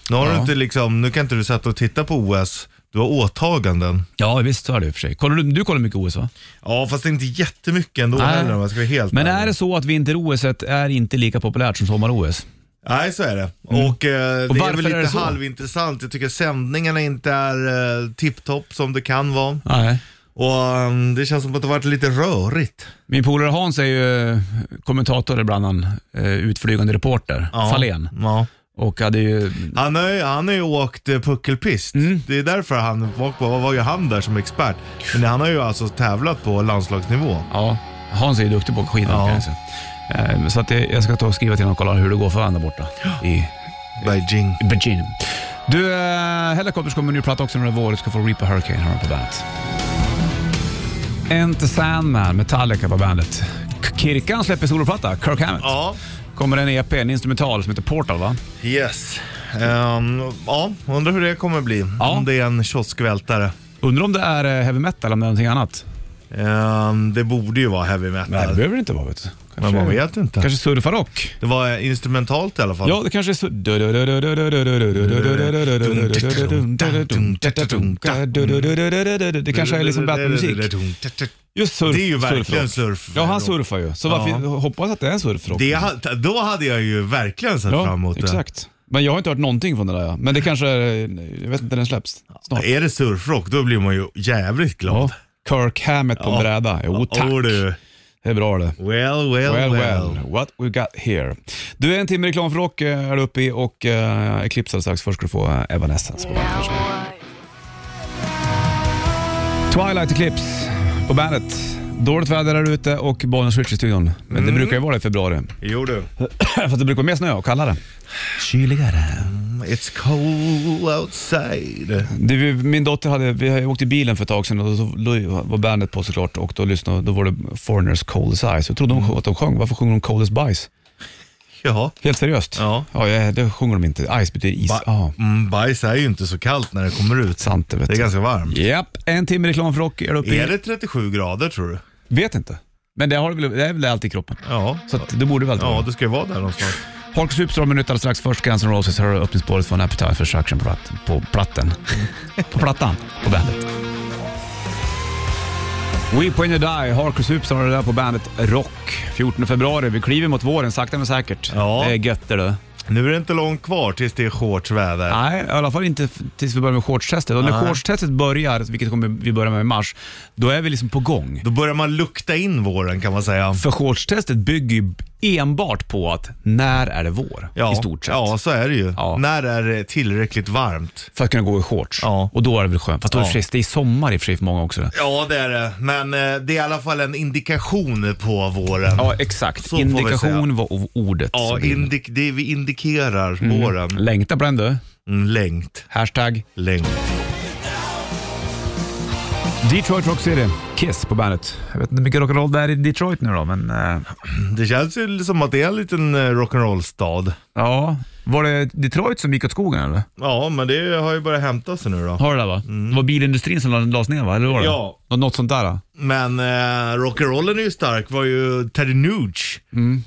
Speaker 3: Nu, har du inte liksom, nu kan inte du sätta och titta på OS, du har åtaganden.
Speaker 2: Ja, visst så är det ju för sig. Kollar du, du kollar mycket OS va?
Speaker 3: Ja fast det är inte jättemycket ändå heller om jag ska vara helt
Speaker 2: Men
Speaker 3: ärlig.
Speaker 2: är det så att vinter-OS är inte lika populärt som sommar-OS?
Speaker 3: Nej så är det. Och, eh,
Speaker 2: Och
Speaker 3: det är
Speaker 2: varför
Speaker 3: väl
Speaker 2: är
Speaker 3: lite
Speaker 2: det så?
Speaker 3: halvintressant. Jag tycker sändningarna inte är eh, tipptopp som det kan vara.
Speaker 2: Nej.
Speaker 3: Och eh, det känns som att det varit lite rörigt.
Speaker 2: Min polare Hans är ju eh, kommentator ibland, han, eh, utflygande reporter,
Speaker 3: Ja.
Speaker 2: Fahlén.
Speaker 3: Ja.
Speaker 2: Och hade ju...
Speaker 3: Han har ju, han har ju åkt eh, puckelpist.
Speaker 2: Mm.
Speaker 3: Det är därför han, folk bara, vad var ju han där som expert? Men han har ju alltså tävlat på landslagsnivå.
Speaker 2: Ja, Hans är ju duktig på skidor
Speaker 3: Ja.
Speaker 2: kan jag säga. Eh, Så att det, jag ska ta och skriva till honom och kolla hur det går för honom där borta i
Speaker 3: Beijing.
Speaker 2: i Beijing. Du, eh, Hellacopters kommer nu prata också om det vår. Du ska få Reaper Hurricane här på bandet. Enter Sandman, Metallica på bandet. K- Kirkan släpper soloplatta, Kirk Hammett.
Speaker 3: Ja.
Speaker 2: Kommer en EP, en instrumental som heter Portal va?
Speaker 3: Yes. Ehm, ja, undrar hur det kommer bli.
Speaker 2: Ja.
Speaker 3: Om det är en kioskvältare.
Speaker 2: Undrar om det är eh, heavy metal eller om det är någonting annat?
Speaker 3: Ehm, det borde ju vara heavy
Speaker 2: Nej, det
Speaker 3: metal.
Speaker 2: behöver det inte vara vet du.
Speaker 3: Men man vet inte.
Speaker 2: Kanske surfarrock?
Speaker 3: Det var instrumentalt i alla fall.
Speaker 2: Ja, det kanske är så... Det kanske är liksom battle-musik. Just surf,
Speaker 3: Det är ju verkligen
Speaker 2: surfrock.
Speaker 3: surf.
Speaker 2: Ja, han surfar ju. Så varför
Speaker 3: Ja.
Speaker 2: hoppas att det är en surfrock?
Speaker 3: Det, ha- då hade jag ju verkligen sett fram emot det.
Speaker 2: exakt. Men jag har inte hört någonting från det där. ja. Men det kanske är... Jag vet inte när den släpps. Snart.
Speaker 3: Är det surfrock, då blir man ju jävligt
Speaker 2: Ja.
Speaker 3: glad.
Speaker 2: Kirk Hammett på en
Speaker 3: Ja.
Speaker 2: bräda. Jo Oh, tack.
Speaker 3: Åh, du.
Speaker 2: Det är bra det.
Speaker 3: Well, well,
Speaker 2: Well,
Speaker 3: well.
Speaker 2: well, what we got here. Du, en timme reklam för rock eh, är du uppe i och uh, Eclipse alldeles strax. Först ska du få eh, Evanescence på bandet. Twilight Eclipse på bandet. Dåligt väder där ute och bollen switch i studion. Men
Speaker 3: Mm.
Speaker 2: det brukar ju vara det i februari.
Speaker 3: Jo du.
Speaker 2: För att det brukar vara mer snö och kallare. Kyligare.
Speaker 3: Mm, It's cold outside.
Speaker 2: Du, min dotter hade, vi åkte i bilen för ett tag sedan och så var bandet på såklart och då lyssnade då var det Foreigners Cold as Ice. Jag trodde de,
Speaker 3: Mm.
Speaker 2: att de sjöng, varför sjunger de Cold as Bajs?
Speaker 3: Ja.
Speaker 2: Helt seriöst?
Speaker 3: Ja.
Speaker 2: ja jag- det sjunger de inte. Ice betyder is.
Speaker 3: Ba-
Speaker 2: ja.
Speaker 3: mm, bajs är ju inte så kallt när det kommer ut.
Speaker 2: Sant det vet
Speaker 3: Det är
Speaker 2: du.
Speaker 3: ganska varmt.
Speaker 2: Japp, en timme reklam för rock är du uppe i.
Speaker 3: Är det 37 grader tror du?
Speaker 2: Vet inte. Men det, har du väl, det är väl allt i kroppen.
Speaker 3: Ja.
Speaker 2: Så att det borde väl
Speaker 3: Ja,
Speaker 2: vara.
Speaker 3: det ska ju vara där någonstans.
Speaker 2: Harkus Superstar om en minut alldeles strax. Först Guns N' Roses, här har du öppningsspåret från Appetite for Destruction på, platt, på platten. på plattan, på bandet. Weep When You Die, Harkus Superstar är det där på bandet Rock. 14 februari, vi kliver mot våren sakta men säkert.
Speaker 3: Ja.
Speaker 2: Det är gött det du.
Speaker 3: Nu är det inte långt kvar tills det är shortsväder.
Speaker 2: Nej, i alla fall inte f- tills vi börjar med shortstestet. Och när
Speaker 3: Nej.
Speaker 2: shortstestet börjar, vilket kommer vi börjar med i mars, då är vi liksom på gång.
Speaker 3: Då börjar man lukta in våren kan man säga.
Speaker 2: För shortstestet bygger ju enbart på att när är det vår? I stort sett.
Speaker 3: Ja, så är det ju.
Speaker 2: Ja.
Speaker 3: När är det tillräckligt varmt?
Speaker 2: För att kunna gå i shorts.
Speaker 3: Ja.
Speaker 2: Och då är det väl skönt. Fast då är det,
Speaker 3: Ja.
Speaker 2: ja. det är sommar i och för sig för många också.
Speaker 3: Ja, det är det. Men eh, det är i alla fall en indikation på våren.
Speaker 2: Ja, exakt.
Speaker 3: Så får vi
Speaker 2: Indikation
Speaker 3: säga.
Speaker 2: var o- ordet.
Speaker 3: Ja,
Speaker 2: som vi-
Speaker 3: indik det vi indikerar våren.
Speaker 2: Längta på den du.
Speaker 3: Mm, längt,
Speaker 2: Hashtag
Speaker 3: längt.
Speaker 2: Detroit Rock City. Kiss på bandet. Jag vet inte hur mycket rock'n'roll det är i Detroit nu då, men... eh,
Speaker 3: Det känns ju som att det är en liten eh, rock'n'roll-stad.
Speaker 2: ja. Var det Detroit som gick åt skogen eller?
Speaker 3: Ja, men det har ju börjat hämta sig nu då.
Speaker 2: Har du det va? Det var bilindustrin som lades ner va? Eller var det?
Speaker 3: Ja.
Speaker 2: Nå- Något sånt där då?
Speaker 3: Men eh, rock'n'rollen är ju stark. var ju Teddy Nuge.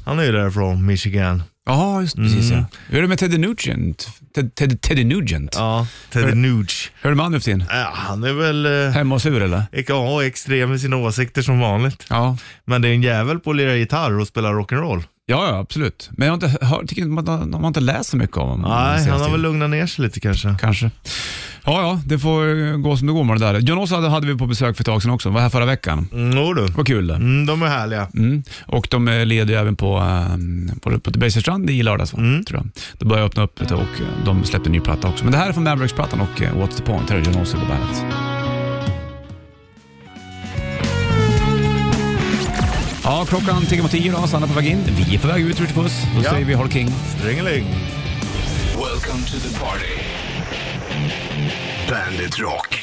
Speaker 3: Han är ju därifrån, Michigan.
Speaker 2: Jaha, just precis
Speaker 3: Mm.
Speaker 2: ja. Hur är det med Teddy Nugent? Ted, Ted, Teddy Nugent?
Speaker 3: Ja, Teddy Nuge.
Speaker 2: Hur är det med han nu för tiden?
Speaker 3: Eh, han är väl... Eh,
Speaker 2: Hemma och sur eller?
Speaker 3: Ja, extrem i sina åsikter som vanligt.
Speaker 2: Ja.
Speaker 3: Men det är en jävel på att lira gitarr och spela rock'n'roll.
Speaker 2: Ja, ja absolut. Men jag har inte, hör, tycker inte man, man har inte läst så mycket om honom. den
Speaker 3: Nej,
Speaker 2: senaste
Speaker 3: han har väl
Speaker 2: tiden.
Speaker 3: lugnat ner sig lite kanske.
Speaker 2: Kanske. Ja, ja, det får eh, gå som det går med det där. Jonas hade, hade vi på besök för ett tag sedan också. var här förra veckan.
Speaker 3: Mm, jo du.
Speaker 2: Vad kul det.
Speaker 3: Mm, de är härliga.
Speaker 2: Mm. Och de eh, leder ju även på, eh, på, på Debaserstrand i lördags, va? tror jag. De började öppna upp lite och eh, de släppte en ny platta också. Men det här är från Mavericks-plattan och eh, What's the point? Här är Jonas på bandet. Ja, klockan tickar mot tio då. Sanna på väg in. Vi är på väg ut, Ritchie Puss. Då
Speaker 3: Ja.
Speaker 2: säger vi Håll King.
Speaker 3: Drängeling.
Speaker 1: Welcome to the party. Bandit Rock.